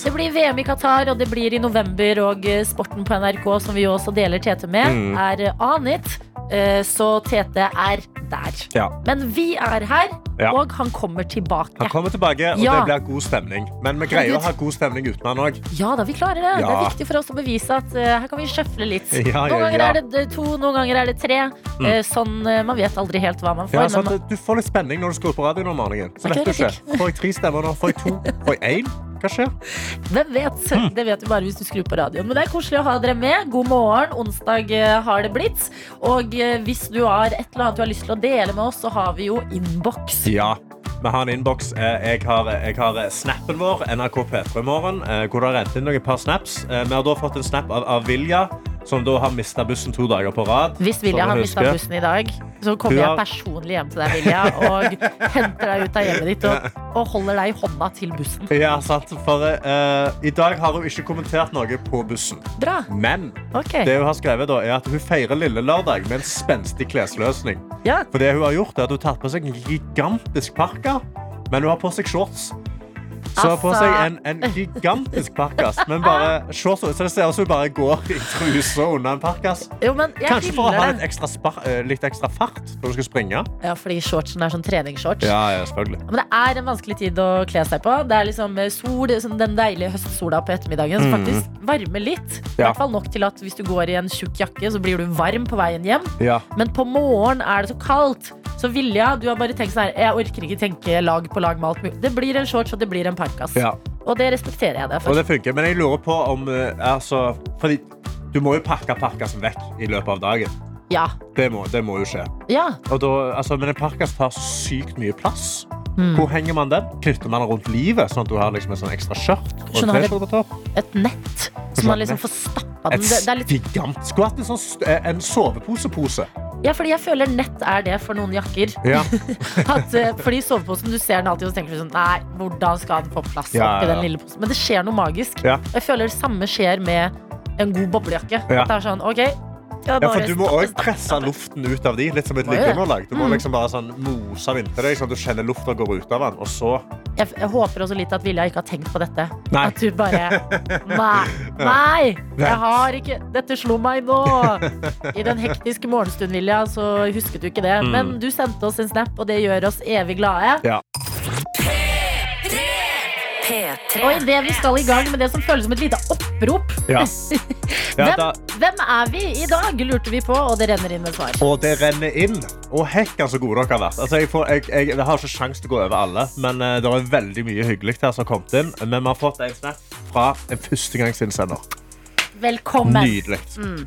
S2: Det blir VM i Qatar, og det blir i november. Og eh, sporten på NRK, som vi jo også deler Tete med,
S3: Mm.
S2: er eh, anit. Eh, Så Tete er der.
S3: Ja.
S2: Men vi er her,
S3: Ja.
S2: og han kommer tilbake.
S3: Han kommer tilbake, og
S2: Ja.
S3: det blir god stemning. Men vi greier å ha god stemning uten han òg.
S2: Ja da, vi klarer det.
S3: Ja.
S2: Det er viktig for oss å bevise at eh, her kan vi sjøfle litt.
S3: Ja,
S2: Noen
S3: ja,
S2: ganger
S3: ja. Mm.
S2: er det eh, to, noen ganger er det tre. Eh, Sånn, eh, Man vet aldri helt hva man får.
S3: Ja,
S2: men
S3: sånn
S2: man-
S3: at du får litt spenning når du skrur på radioen om morgenen. Så
S2: Ok,
S3: vet du
S2: det er
S3: ikke. Får jeg tre stemmer nå? Får jeg to? Får jeg én? Hva skjer?
S2: Hvem vet?
S3: Mm.
S2: Det vet du bare hvis du skrur på radioen. Men det er koselig å ha dere med. God morgen. Onsdag eh, har det blitt. Og eh, hvis du har et eller annet du har lyst til å dele med oss, så har vi jo innboks.
S3: Ja. Vi har en innboks. Eh, Jeg har, jeg har eh, snappen vår, NRK P3 Morgen, eh, hvor det har rent inn noen par snaps. Eh, Vi har da fått en snap av, av Vilja, som da har mista bussen to dager på rad.
S2: Hvis Vilja
S3: Som
S2: har
S3: jeg
S2: mista
S3: Sånn husker.
S2: bussen i dag, så
S3: Du
S2: kommer jeg
S3: har-
S2: personlig hjem til deg, Vilja, og henter deg ut av hjemmet ditt og, og holder deg i hånda til bussen.
S3: Ja, sant. For eh, i dag har hun ikke kommentert noe på bussen.
S2: Bra.
S3: Men
S2: Ok.
S3: det hun har skrevet da, er at hun feirer lille lørdag med en spenstig klesløsning.
S2: Ja.
S3: For det hun har gjort, er at hun har tatt på seg en gigantisk parkas, men hun har på seg shorts. Så hun har på
S2: Altså.
S3: seg en, en gigantisk parkas, men bare shorts. Så det ser ut som hun bare går i truse under en parkas.
S2: Jo, men jeg
S3: Kanskje for å ha
S2: hyller
S3: litt
S2: det.
S3: ekstra, spar, eh, litt ekstra fart når du skal springe.
S2: Ja, fordi shortsen er sånn treningsshorts.
S3: Ja, ja, selvfølgelig.
S2: Men det er en vanskelig tid å kle seg på. Det er liksom sol, sånn den deilige høstsola på ettermiddagen som faktisk varmer litt. I
S3: Mm. Ja.
S2: hvert fall nok til at hvis du går i en tjukk jakke, så blir du varm på veien hjem.
S3: Ja.
S2: Men på morgenen er det så kaldt. Så Vilja, du har bare tenkt sånn her Jeg orker ikke tenke lag på lag med alt mulig. Det blir en shorts, og det blir en parkas.
S3: Ja.
S2: Og det respekterer jeg deg
S3: Og
S2: for.
S3: det funker, men jeg lurer på om eh, altså, Fordi du må jo pakke parkasen vekk i løpet av dagen.
S2: Ja.
S3: Det må, det må jo skje.
S2: ja.
S3: Og da, altså, men en parkas tar så sykt mye plass.
S2: Mm.
S3: Hvor henger man den? Knytter man den rundt livet, sånn at du har liksom et sånn ekstra skjørt? og en
S2: Skjønner jeg.
S3: T-skjorte på topp?
S2: Et nett som man liksom får stappa den.
S3: Et
S2: Det, det er litt
S3: gigant Skulle hatt en, sånn, st- eh, en soveposepose.
S2: Ja, fordi jeg føler nett er det for noen jakker.
S3: Ja.
S2: At, eh, fordi soveposen, du ser den alltid og så tenker du sånn Nei, hvordan skal den få plass
S3: Ja, ja,
S2: oppi
S3: ja.
S2: den lille posen? Men det skjer noe magisk.
S3: Ja.
S2: Og jeg føler det samme skjer med en god boblejakke.
S3: Ja.
S2: At det er sånn, ok skal
S3: Ja,
S2: bare
S3: for Du må
S2: stoppe-
S3: òg presse luften ut av de, litt som et
S2: Må jo det.
S3: liggeunderlag. Du må
S2: Mm.
S3: liksom bare sånn mose den inntil deg, sånn at du kjenner lufta går ut av den. Og så
S2: jeg, jeg håper også litt at Vilja ikke har tenkt på dette.
S3: Nei.
S2: At du bare Nei! Nei! Jeg har ikke Dette slo meg nå! I den hektiske morgenstunden, Vilja, så husket du ikke det.
S3: Mm.
S2: Men du sendte oss en snap, og det gjør oss evig glade.
S10: P3.
S2: Og idet vi skal i gang med det som føles som et lite opprop
S3: Ja. Ja,
S2: hvem,
S3: da-
S2: hvem er vi i dag, lurte vi på, og det renner inn med svar.
S3: Og det renner inn. Og hekka så gode dere har vært. Altså, jeg, får, jeg, jeg, jeg har ikke sjans til å gå over alle, men eh, det er veldig mye hyggelig her som har kommet inn. Men vi har fått en snap fra en førstegangsinnsender.
S2: Velkommen.
S3: Nydelig.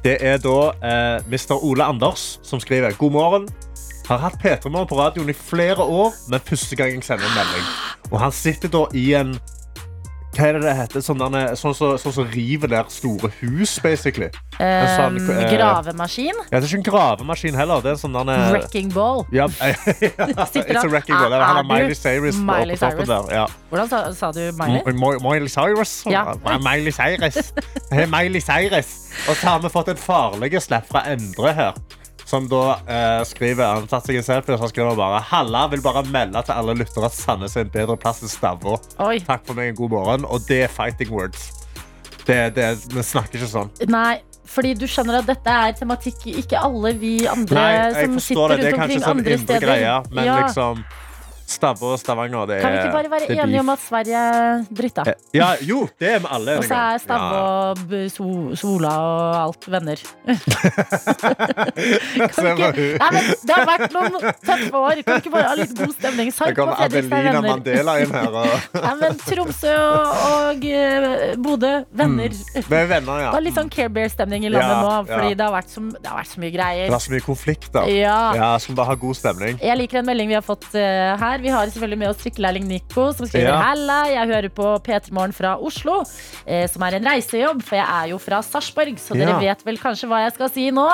S3: Det er da eh, Mr. Ole Anders som skriver God morgen. Har hatt P3 Morgen på radioen i flere år, men første gang jeg sender en melding. Og han sitter da i en hva er det det heter? Sånn som sånn, som- sånn, som river ned store hus, basically.
S2: Um,
S3: En sånn, eh,
S2: gravemaskin.
S3: Ja, det er ikke en gravemaskin heller. Det er en sånn derne-
S2: Wrecking ball.
S3: ja,
S2: Sitter
S3: It's a
S2: han-
S3: wrecking ball. Det er
S2: Er
S3: han har
S2: du
S3: Miley Cyrus på-
S2: Miley
S3: på toppen
S2: Cyrus?
S3: der. Ja.
S2: Hvordan sa, sa du, Miley?
S3: M- M- Miley Cyrus?
S2: Ja.
S3: M- Miley Cyrus. Hey, Miley Cyrus. Og så har vi fått et farlig slapp fra Endre her. Som da eh, skriver Han har tatt seg en selfie og så skriver han bare Halla vil bare melde til alle lyttere at Sandnes er en bedre plass enn Stavå.
S2: Oi.
S3: Takk for meg en god morgen. Og det er fighting words. Det, det, vi snakker ikke sånn.
S2: Nei, fordi du skjønner at dette er tematikk ikke alle vi andre
S3: Nei, jeg
S2: som
S3: forstår
S2: sitter
S3: det. Det er
S2: rundt
S3: kanskje
S2: omkring
S3: sånn
S2: andre
S3: indre
S2: steder.
S3: greier, men
S2: Ja.
S3: liksom Stavå og Stavanger, det er
S2: kan vi ikke bare være
S3: det er
S2: enige
S3: beef.
S2: om at Sverige er dritt, da?
S3: Eh, Ja, jo, det er vi alle
S2: Og så er Stabbe
S3: Ja.
S2: og B- so Sola og alt venner. kan
S3: Se
S2: vi
S3: på
S2: ikke,
S3: hun.
S2: nei, men det har vært noen tøffe år. Kan vi ikke bare ha litt god stemning?
S3: Her
S2: Sarp og
S3: kommer
S2: Fredrikstad
S3: Adelina
S2: er venner.
S3: Mandela inn her. Og...
S2: Nei, men Tromsø og, og eh, Bodø, venner.
S3: Vi er venner, ja.
S2: Det var litt sånn Care Bear-stemning i landet
S3: Mm. Ja,
S2: nå, fordi
S3: ja.
S2: det, har vært så, det har vært så mye
S3: Det
S2: greier.
S3: er så mye konflikter.
S2: Ja.
S3: Ja, som bare har god stemning.
S2: Jeg liker en melding vi har fått eh, her. Vi har selvfølgelig med oss trikkelærling Nico, som skriver
S3: Ja.
S2: Halla, jeg hører på P3 Morgen fra Oslo, eh, som er en reisejobb, for jeg er jo fra Sarpsborg, så dere
S3: Ja.
S2: vet vel kanskje hva jeg skal si nå?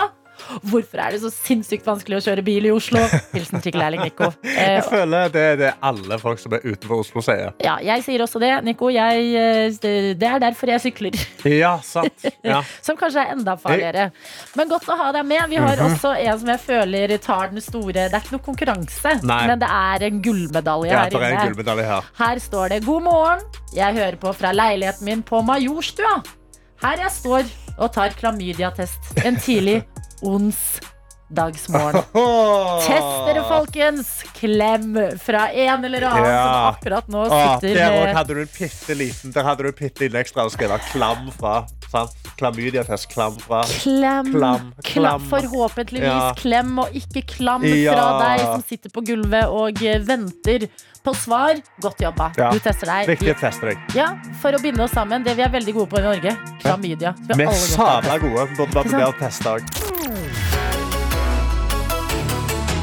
S2: Hvorfor er det så sinnssykt vanskelig å kjøre bil i Oslo? Hilsen trikkelærling Nico. Eh,
S3: Jeg føler det er det alle folk som er utenfor Oslo sier.
S2: ja, jeg sier også det, Nico. Jeg, eh, det er derfor jeg sykler.
S3: Ja, sant. Ja.
S2: Som kanskje er enda farligere. Men godt å ha deg med. Vi har
S3: Mhm.
S2: også en som jeg føler tar den store Det er ikke noe konkurranse,
S3: Nei.
S2: men det er en gullmedalje
S3: Ja,
S2: her
S3: det er en
S2: inne.
S3: gullmedalje her.
S2: Her står det 'God morgen, jeg hører på fra leiligheten min på Majorstua'. Her jeg står og tar klamydiatest en tidlig onsdagsmorgen.
S3: Åh!
S2: Test dere, folkens! Klem fra en eller annen
S3: Ja. Ah,
S2: som akkurat nå
S3: Åh,
S2: sitter eh,
S3: der òg
S2: med
S3: hadde du en bitte liten Der hadde du en bitte liten ekstra å skrive klam fra. Sant? Klamydiatest. Klam fra.
S2: Klem.
S3: Klam,
S2: Kla-
S3: klam.
S2: Forhåpentligvis
S3: Ja.
S2: klem, og ikke klam fra
S3: Ja.
S2: deg som sitter på gulvet og eh, venter på svar. Godt jobba.
S3: Ja.
S2: Du tester deg.
S3: Viktig å teste deg.
S2: Ja, For å binde oss sammen, det vi er veldig gode på i Norge. Klamydia. som
S3: Vi
S2: alle
S3: er
S2: godt kan.
S3: sabla gode. Vi Burde bare vurdere å teste òg.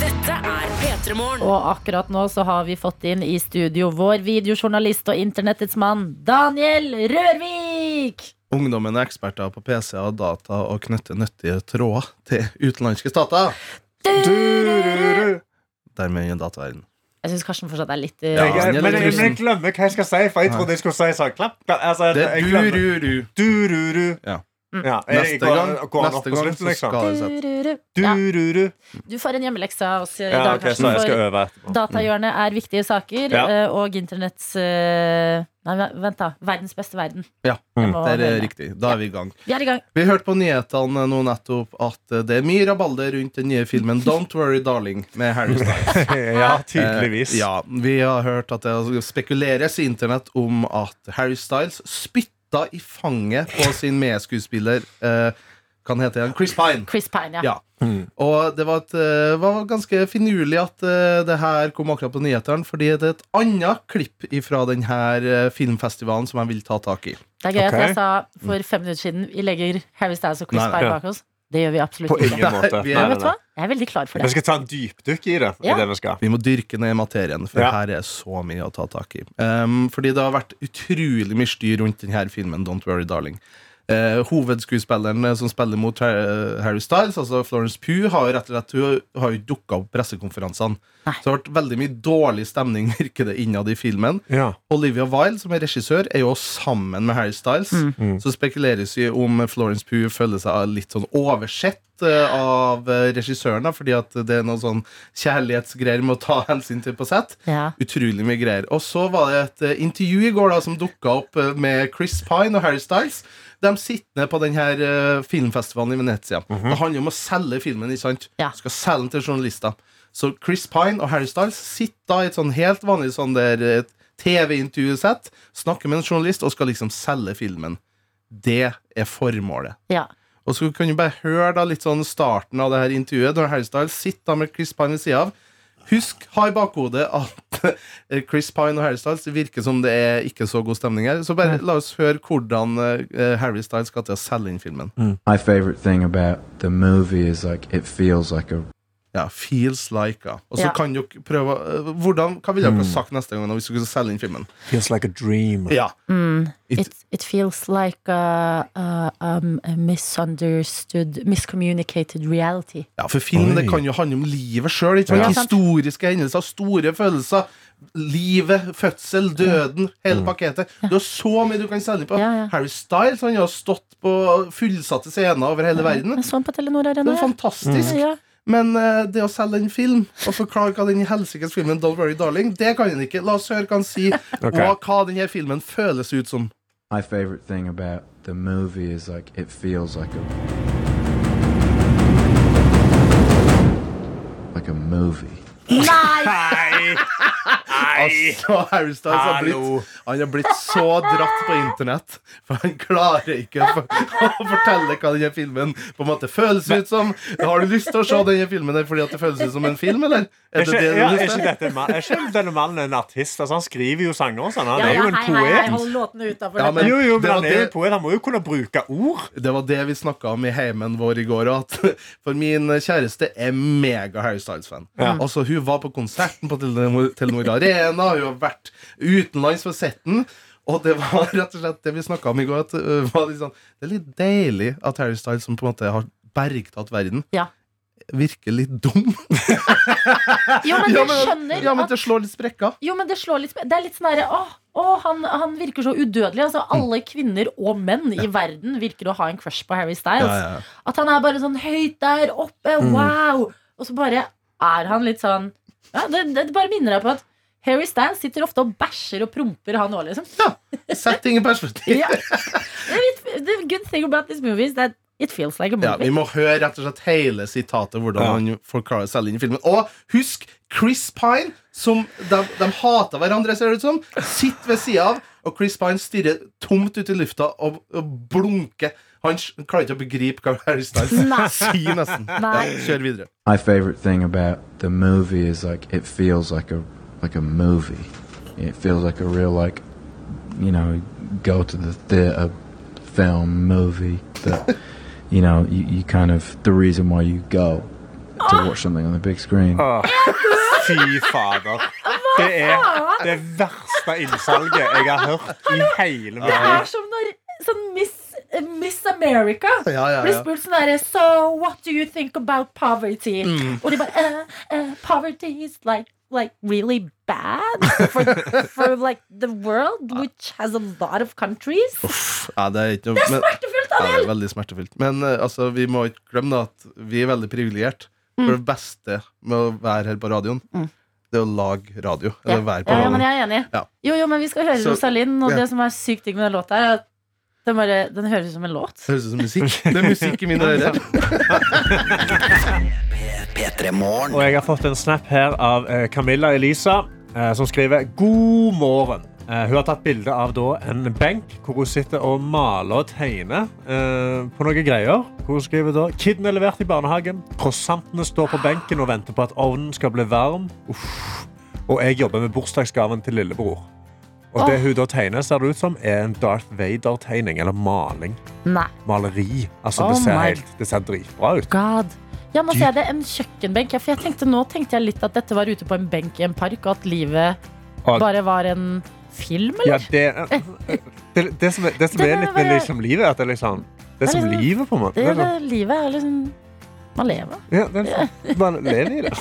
S10: Dette er P3 Morgen.
S2: Og akkurat nå så har vi fått inn i studio vår videojournalist og internettets mann Daniel Rørvik!
S9: Ungdommen er eksperter på PC og data og knytter nyttige tråder til utenlandske stater. Dermed ingen dataverden.
S2: Jeg syns Karsten fortsatt er litt
S9: Ja.
S2: eh,
S3: Jeg, men, jeg, men jeg
S9: Tusen.
S3: glemmer hva jeg skal si, for jeg trodde jeg skulle si sånn klapp. klapp altså,
S9: Det
S3: jeg
S9: er
S3: glemmer.
S9: du-ru-ru.
S3: Du-ru-ru.
S9: Ja.
S3: Ja, jeg- jeg
S9: Neste
S3: går-
S9: gang,
S3: går han opp
S9: neste
S3: på
S9: gang
S3: slutten,
S9: så
S3: liksom.
S9: skal det sette.
S2: Ja,
S3: Du-ru-ru.
S2: du får en hjemmelekse av oss i
S3: Ja,
S2: dag,
S3: ok,
S2: Karsten.
S3: så jeg skal
S2: for-
S3: øve etterpå.
S2: Datahjørnet er viktige saker,
S3: Ja.
S2: eh, og internetts eh, Nei, vent, da. Verdens beste verden.
S9: Ja,
S3: Mm.
S2: Jeg må
S9: Der er
S2: høre.
S9: riktig. Da er vi i gang.
S2: Vi er i gang.
S9: Vi hørte på nyhetene nå nettopp at eh, det er mye rabalder rundt den nye filmen Don't Worry Darling med Harry Styles.
S3: Ja, tydeligvis.
S9: Eh, Ja, vi har hørt at det spekuleres i internett om at Harry Styles spytta i fanget på sin medskuespiller eh, Kan hete han Chris Pine.
S2: Chris Pine, ja.
S9: Ja. Og det var, et, eh, var ganske finurlig at eh, det her kom akkurat på nyhetene, fordi det er et annet klipp fra denne eh, filmfestivalen som jeg vil ta tak i.
S2: Det er gøy at
S3: Ok.
S2: jeg sa for fem minutter siden vi legger Harry Styles og Chris
S9: Nei, nei.
S2: Pine bak oss. Det gjør vi
S3: På
S2: absolutt ikke.
S3: ingen måte.
S9: vi
S2: Men
S3: Nei,
S9: er-
S2: vet du
S3: nei,
S2: hva? Jeg er veldig klar
S3: nei.
S2: for
S3: Vi
S2: det.
S3: skal ta en dypdykk i det. i
S2: Ja.
S3: det vi skal.
S9: Vi må dyrke ned materien, for
S3: Ja.
S9: her er så mye å ta tak i. Um, fordi det har vært utrolig mye styr rundt denne filmen, Don't Worry Darling. Eh, hovedskuespilleren eh, som spiller mot Har- Harry Styles, altså Florence Pugh, har jo rett og slett hun har jo dukka opp på pressekonferansene.
S2: Nei.
S9: Så det har vært veldig mye dårlig stemning, virker det, innad i filmen.
S3: Ja.
S9: Olivia Wilde, som er regissør, er jo
S2: Mm.
S9: sammen med Harry Styles. Så spekuleres jo om Florence Pugh føler seg litt sånn oversett
S11: eh, av eh, regissøren, da, fordi at det er noe sånn kjærlighetsgreier med å ta hensyn til på sett.
S2: Ja.
S11: Utrolig mye greier. Og så var det et eh, intervju i går da, som dukka opp eh, med Chris Pine og Harry Styles. De sitter ned på den her eh, filmfestivalen i Venezia. Det handler om å selge filmen. ikke sant?
S2: Ja.
S11: Skal selge den til journalister. Så Chris Pine og Harry Styles sitter da i et sånn helt vanlig sånn der TV-intervjusett, snakker med en journalist og skal liksom selge filmen. Det er formålet.
S2: Ja.
S11: Og så kan du bare høre da litt sånn starten av det her intervjuet, når Harry Styles sitter da med Chris Pine ved siden av. Husk, ha i bakhodet at Chris Pine og Harry Styles det virker som det er ikke så god stemning her. Så bare la oss høre hvordan eh, Harry Styles skal til å selge inn filmen.
S12: My favorite thing about the movie is like it feels like a
S11: Ja, feels like, ja. Og så
S12: Ja.
S11: kan dere prøve eh, hvordan, Hva ville dere
S12: Mm.
S11: ha sagt neste gang hvis dere skulle selge inn filmen?
S3: Feels like a dream.
S11: Ja.
S2: Mm.
S11: It-
S2: It, it feels like a, a, um, a misunderstood, miscommunicated reality.
S11: Ja, for film det
S2: Oi.
S11: kan jo handle om livet sjøl.
S2: Ja. Ja, sant.
S11: Historiske hendelser, store følelser. Livet, fødsel, døden, hele pakketet. Du har så mye du kan selge på. Harry Styles han har stått på fullsatte scener over hele verden.
S2: Jeg så den på Telenor Arena.
S11: Det Mm. er
S2: ja.
S11: fantastisk.
S2: Ja, ja.
S11: Men eh, det å selge en film og forklare hva den helsikes filmen Don't Worry Darling, det kan han ikke. La oss høre hva han sier,
S12: Ok.
S11: og hva denne filmen føles ut som.
S12: My favorite thing about the movie is like it feels like a like a movie.
S11: Nei! Altså, Harry Styles har
S12: Hallo.
S11: blitt, han har blitt så dratt på internett, for han klarer ikke å for- å fortelle hva denne filmen på en måte føles ut som. Har du lyst til å se denne filmen der fordi at det føles ut som en film, eller?
S3: Er ikke,
S11: du
S3: ja, er,
S11: har lyst
S3: ikke
S11: til?
S3: dette, en mann- er ikke denne mannen en artist? Altså, han skriver jo sanger og sånn. Han
S2: Ja,
S3: er
S2: ja,
S3: jo en
S2: hei, hei,
S3: poet.
S2: hei, hold låtene utenfor
S11: Ja,
S2: dette.
S11: men-
S3: jo, jo, men
S11: det var
S3: han er jo
S11: det-
S3: en poet. Han må jo kunne bruke ord.
S11: Det var det vi snakka om i heimen vår i går. og At for min kjæreste er mega Harry Styles-fan.
S3: Ja.
S11: Altså, hun var på konserten på Telenor Telenor Arena, hun har vært utenlands for setten. Og det var rett og slett det vi snakka om i går. At, øh, var litt sånn, det er litt deilig at Harry Styles, som på en måte har bergtatt verden,
S2: Ja.
S11: virker litt dum.
S2: Jo, men
S11: Ja,
S2: jeg skjønner
S11: ja, men
S2: at-
S11: det slår litt sprekker.
S2: Jo, men det slår litt sp- Det er litt sånn derre Åh, åh, han, han virker så udødelig. Altså, alle kvinner og menn i verden virker å ha en crush på Harry Styles.
S11: Ja, ja, ja.
S2: At han er bare sånn høyt der oppe,
S11: Mm.
S2: wow! Og så bare er han litt sånn ja, det, det bare minner deg på at Harry Styles sitter ofte og bæsjer og promper, han òg, liksom.
S11: Sett ting i perspektiv.
S2: Ja. The good thing about this movie is that it feels like a
S11: Ja, vi
S2: movie.
S11: må høre rett og slett hele sitatet Hvordan han forklarer seg inn i filmen Og husk Chris Pine Som de, de hater hverandre ser det ut som Sitter ved siden av Og Chris Pine stirrer tomt ut i lufta Og, og blunker Han s- klarer ikke å begripe hva Harry Styles
S12: Nei.
S11: sier nesten
S12: Nei.
S11: ja, Kjør videre
S12: My favorite thing about the movie is like it feels like a like a movie. It feels like a real like you know go to the theater film movie that you know you, you kind of the reason why you go to
S11: Ah.
S12: watch something on the big screen.
S3: Fy fader. Det er det verste innsalget jeg har hørt i hele
S2: Det
S3: mitt
S2: er
S3: liv.
S2: som når sånn Miss, eh, Miss America
S3: Ja, ja, ja.
S2: blir spurt sånn derre So what do you think about poverty?
S13: Mm.
S2: Og de bare eh, eh, Poverty is like Like really bad for, for like the world, which has a lot of countries.
S11: ja, det, er ikke
S2: Det
S11: noe,
S2: er smertefullt,
S11: Ja, det
S2: Daniel!
S11: er veldig smertefullt Men eh, altså, vi må ikke glemme da at Vi er veldig privilegiert For
S2: Mm.
S11: det beste med å være her på radioen Det er å lage radio
S2: Ja.
S11: Eller være på
S2: Ja, ja,
S11: radioen
S2: men jeg er enig.
S11: Ja.
S2: Jo, jo, men vi skal høre
S11: Så-
S2: Rosalind, og
S11: Ja.
S2: det som er sykt digg med den låta, er at den, bare, den høres ut som en låt.
S11: Det høres ut som musikk. Det er musikk i mine ører.
S3: Og jeg har fått en snap her av eh, Camilla Elisa, eh, som skriver God morgen. Eh, Hun har tatt bilde av da en benk hvor hun sitter og maler og tegner eh, på noen greier. Hun skriver da Kidden er levert i barnehagen. Croissantene står på benken og venter på at ovnen skal bli varm. Uff. Og jeg jobber med bursdagsgaven til lillebror. Og det hun da tegner, ser det ut som er en Darth Vader-tegning eller maling.
S2: Nei.
S3: Maleri. Altså,
S2: Oh
S3: det, ser
S2: my
S3: helt, det ser dritbra ut.
S2: Ja, nå ser jeg det en kjøkkenbenk. Ja, for jeg tenkte, nå tenkte jeg litt at dette var ute på en benk i en park, og at livet
S3: Og-
S2: bare var en film, eller?
S3: Ja, det, eh, det, det som, er, det
S2: Eh.
S3: som
S2: Det
S3: er
S2: er
S3: litt
S2: bare-
S3: med liksom livet, er at det er liksom Det
S2: Det
S3: er
S2: er
S3: som
S2: liksom-
S3: livet, på en måte.
S2: Det,
S3: Det er
S2: det,
S3: sånn-
S2: livet er liksom Man lever.
S3: Ja, det er sånn. Man lever i det.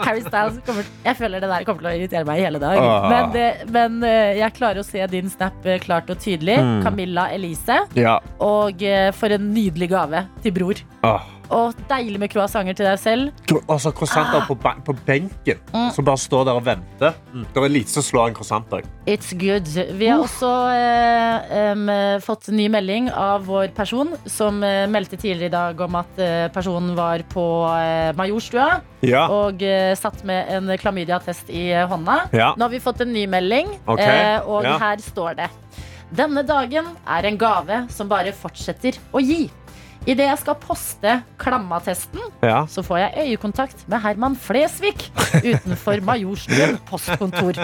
S2: Harry Styles kommer Jeg føler det der kommer til å irritere meg i hele dag.
S3: Ah.
S2: Men, det, men eh, jeg klarer å se din snap eh, klart og tydelig.
S3: Mm.
S2: Camilla Elise.
S3: Ja.
S2: Og eh, for en nydelig gave til bror.
S3: Åh.
S2: Og deilig med croissanter til deg selv.
S3: Kro- Altså, Croissanter
S2: Ah.
S3: på, ba- på benken
S2: Mm.
S3: som bare står der og venter. Det er lite som slår en croissant. også.
S2: It's good. Vi har også eh, em, fått ny melding av vår person, som eh, meldte tidligere i dag om at eh, personen var på eh, Majorstua
S13: Ah.
S3: Ja.
S2: og eh, satt med en klamydia-test i eh, hånda.
S3: Ja.
S2: Nå har vi fått en ny melding,
S13: Ok,
S2: eh, og
S13: ja.
S2: her står det Denne dagen er en gave som bare fortsetter å gi. Idet jeg skal poste klammatesten,
S3: Ja.
S2: så får jeg øyekontakt med Herman Flesvig utenfor Majorstuen postkontor.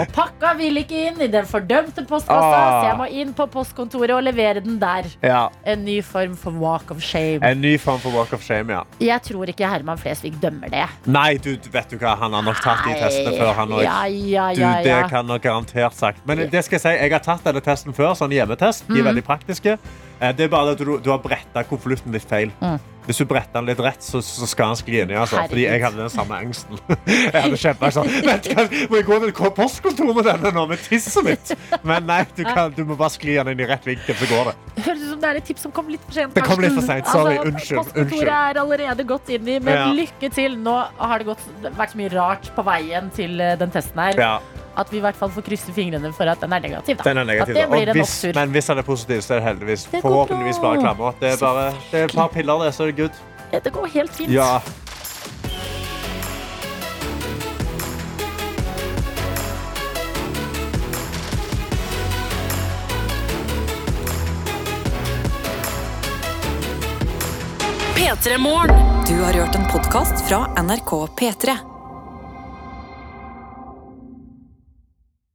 S2: Og pakka vil ikke inn i den fordømte postkassa,
S3: Ah.
S2: så jeg må inn på postkontoret og levere den der.
S3: Ja.
S2: En ny form for walk of shame.
S3: En ny form for walk of shame, ja.
S2: Jeg tror ikke Herman Flesvig dømmer det.
S3: Nei, du, du vet du hva, han har nok tatt de testene
S2: Nei,
S3: før, han òg.
S2: ja, ja,
S3: Du,
S2: ja,
S3: det
S2: ja.
S3: kan han garantert sagt. Men det skal jeg si, jeg har tatt denne testen før, sånn hjemmetest. De
S2: Mhm.
S3: er veldig praktiske. Eh, Det er bare det at du, du har bretta konvolutten litt feil.
S2: Mm.
S3: Hvis du bretter den litt rett, så, så skal han skli ned. Altså, fordi jeg
S2: Herregud.
S3: hadde den samme angsten. Jeg hadde kjempa sånn Vent, kan, må jeg gå til ko- postkontoret med denne nå, med tisset mitt? Men nei, du, kan, du må bare skli den inn i rett vinkel, så går det.
S2: Høres ut som det er et tips som kom litt for sent.
S3: Det kom
S2: Karsten.
S3: litt for sent, sorry.
S2: Altså,
S3: Unnskyld,
S2: Postkontoret
S3: unnskyld.
S2: er allerede gått inn i, men
S3: Ja.
S2: lykke til. Nå har det gått, vært så mye rart på veien til eh, den testen her.
S3: Ja.
S2: At vi i hvert fall får krysse fingrene for at den er negativ. Da.
S3: Den er
S2: At
S3: negativ.
S2: det
S3: da.
S2: blir
S3: Og
S2: en
S3: hvis,
S2: opptur.
S3: men hvis han er positiv, så er det heldigvis
S2: Det går
S3: forhåpentligvis
S2: bra.
S3: bare klammer. Det er bare det er et par piller, det, så er det good.
S2: Det går helt fint.
S3: Ja.
S1: P3 Morgen. Du har hørt en podkast fra NRK P3.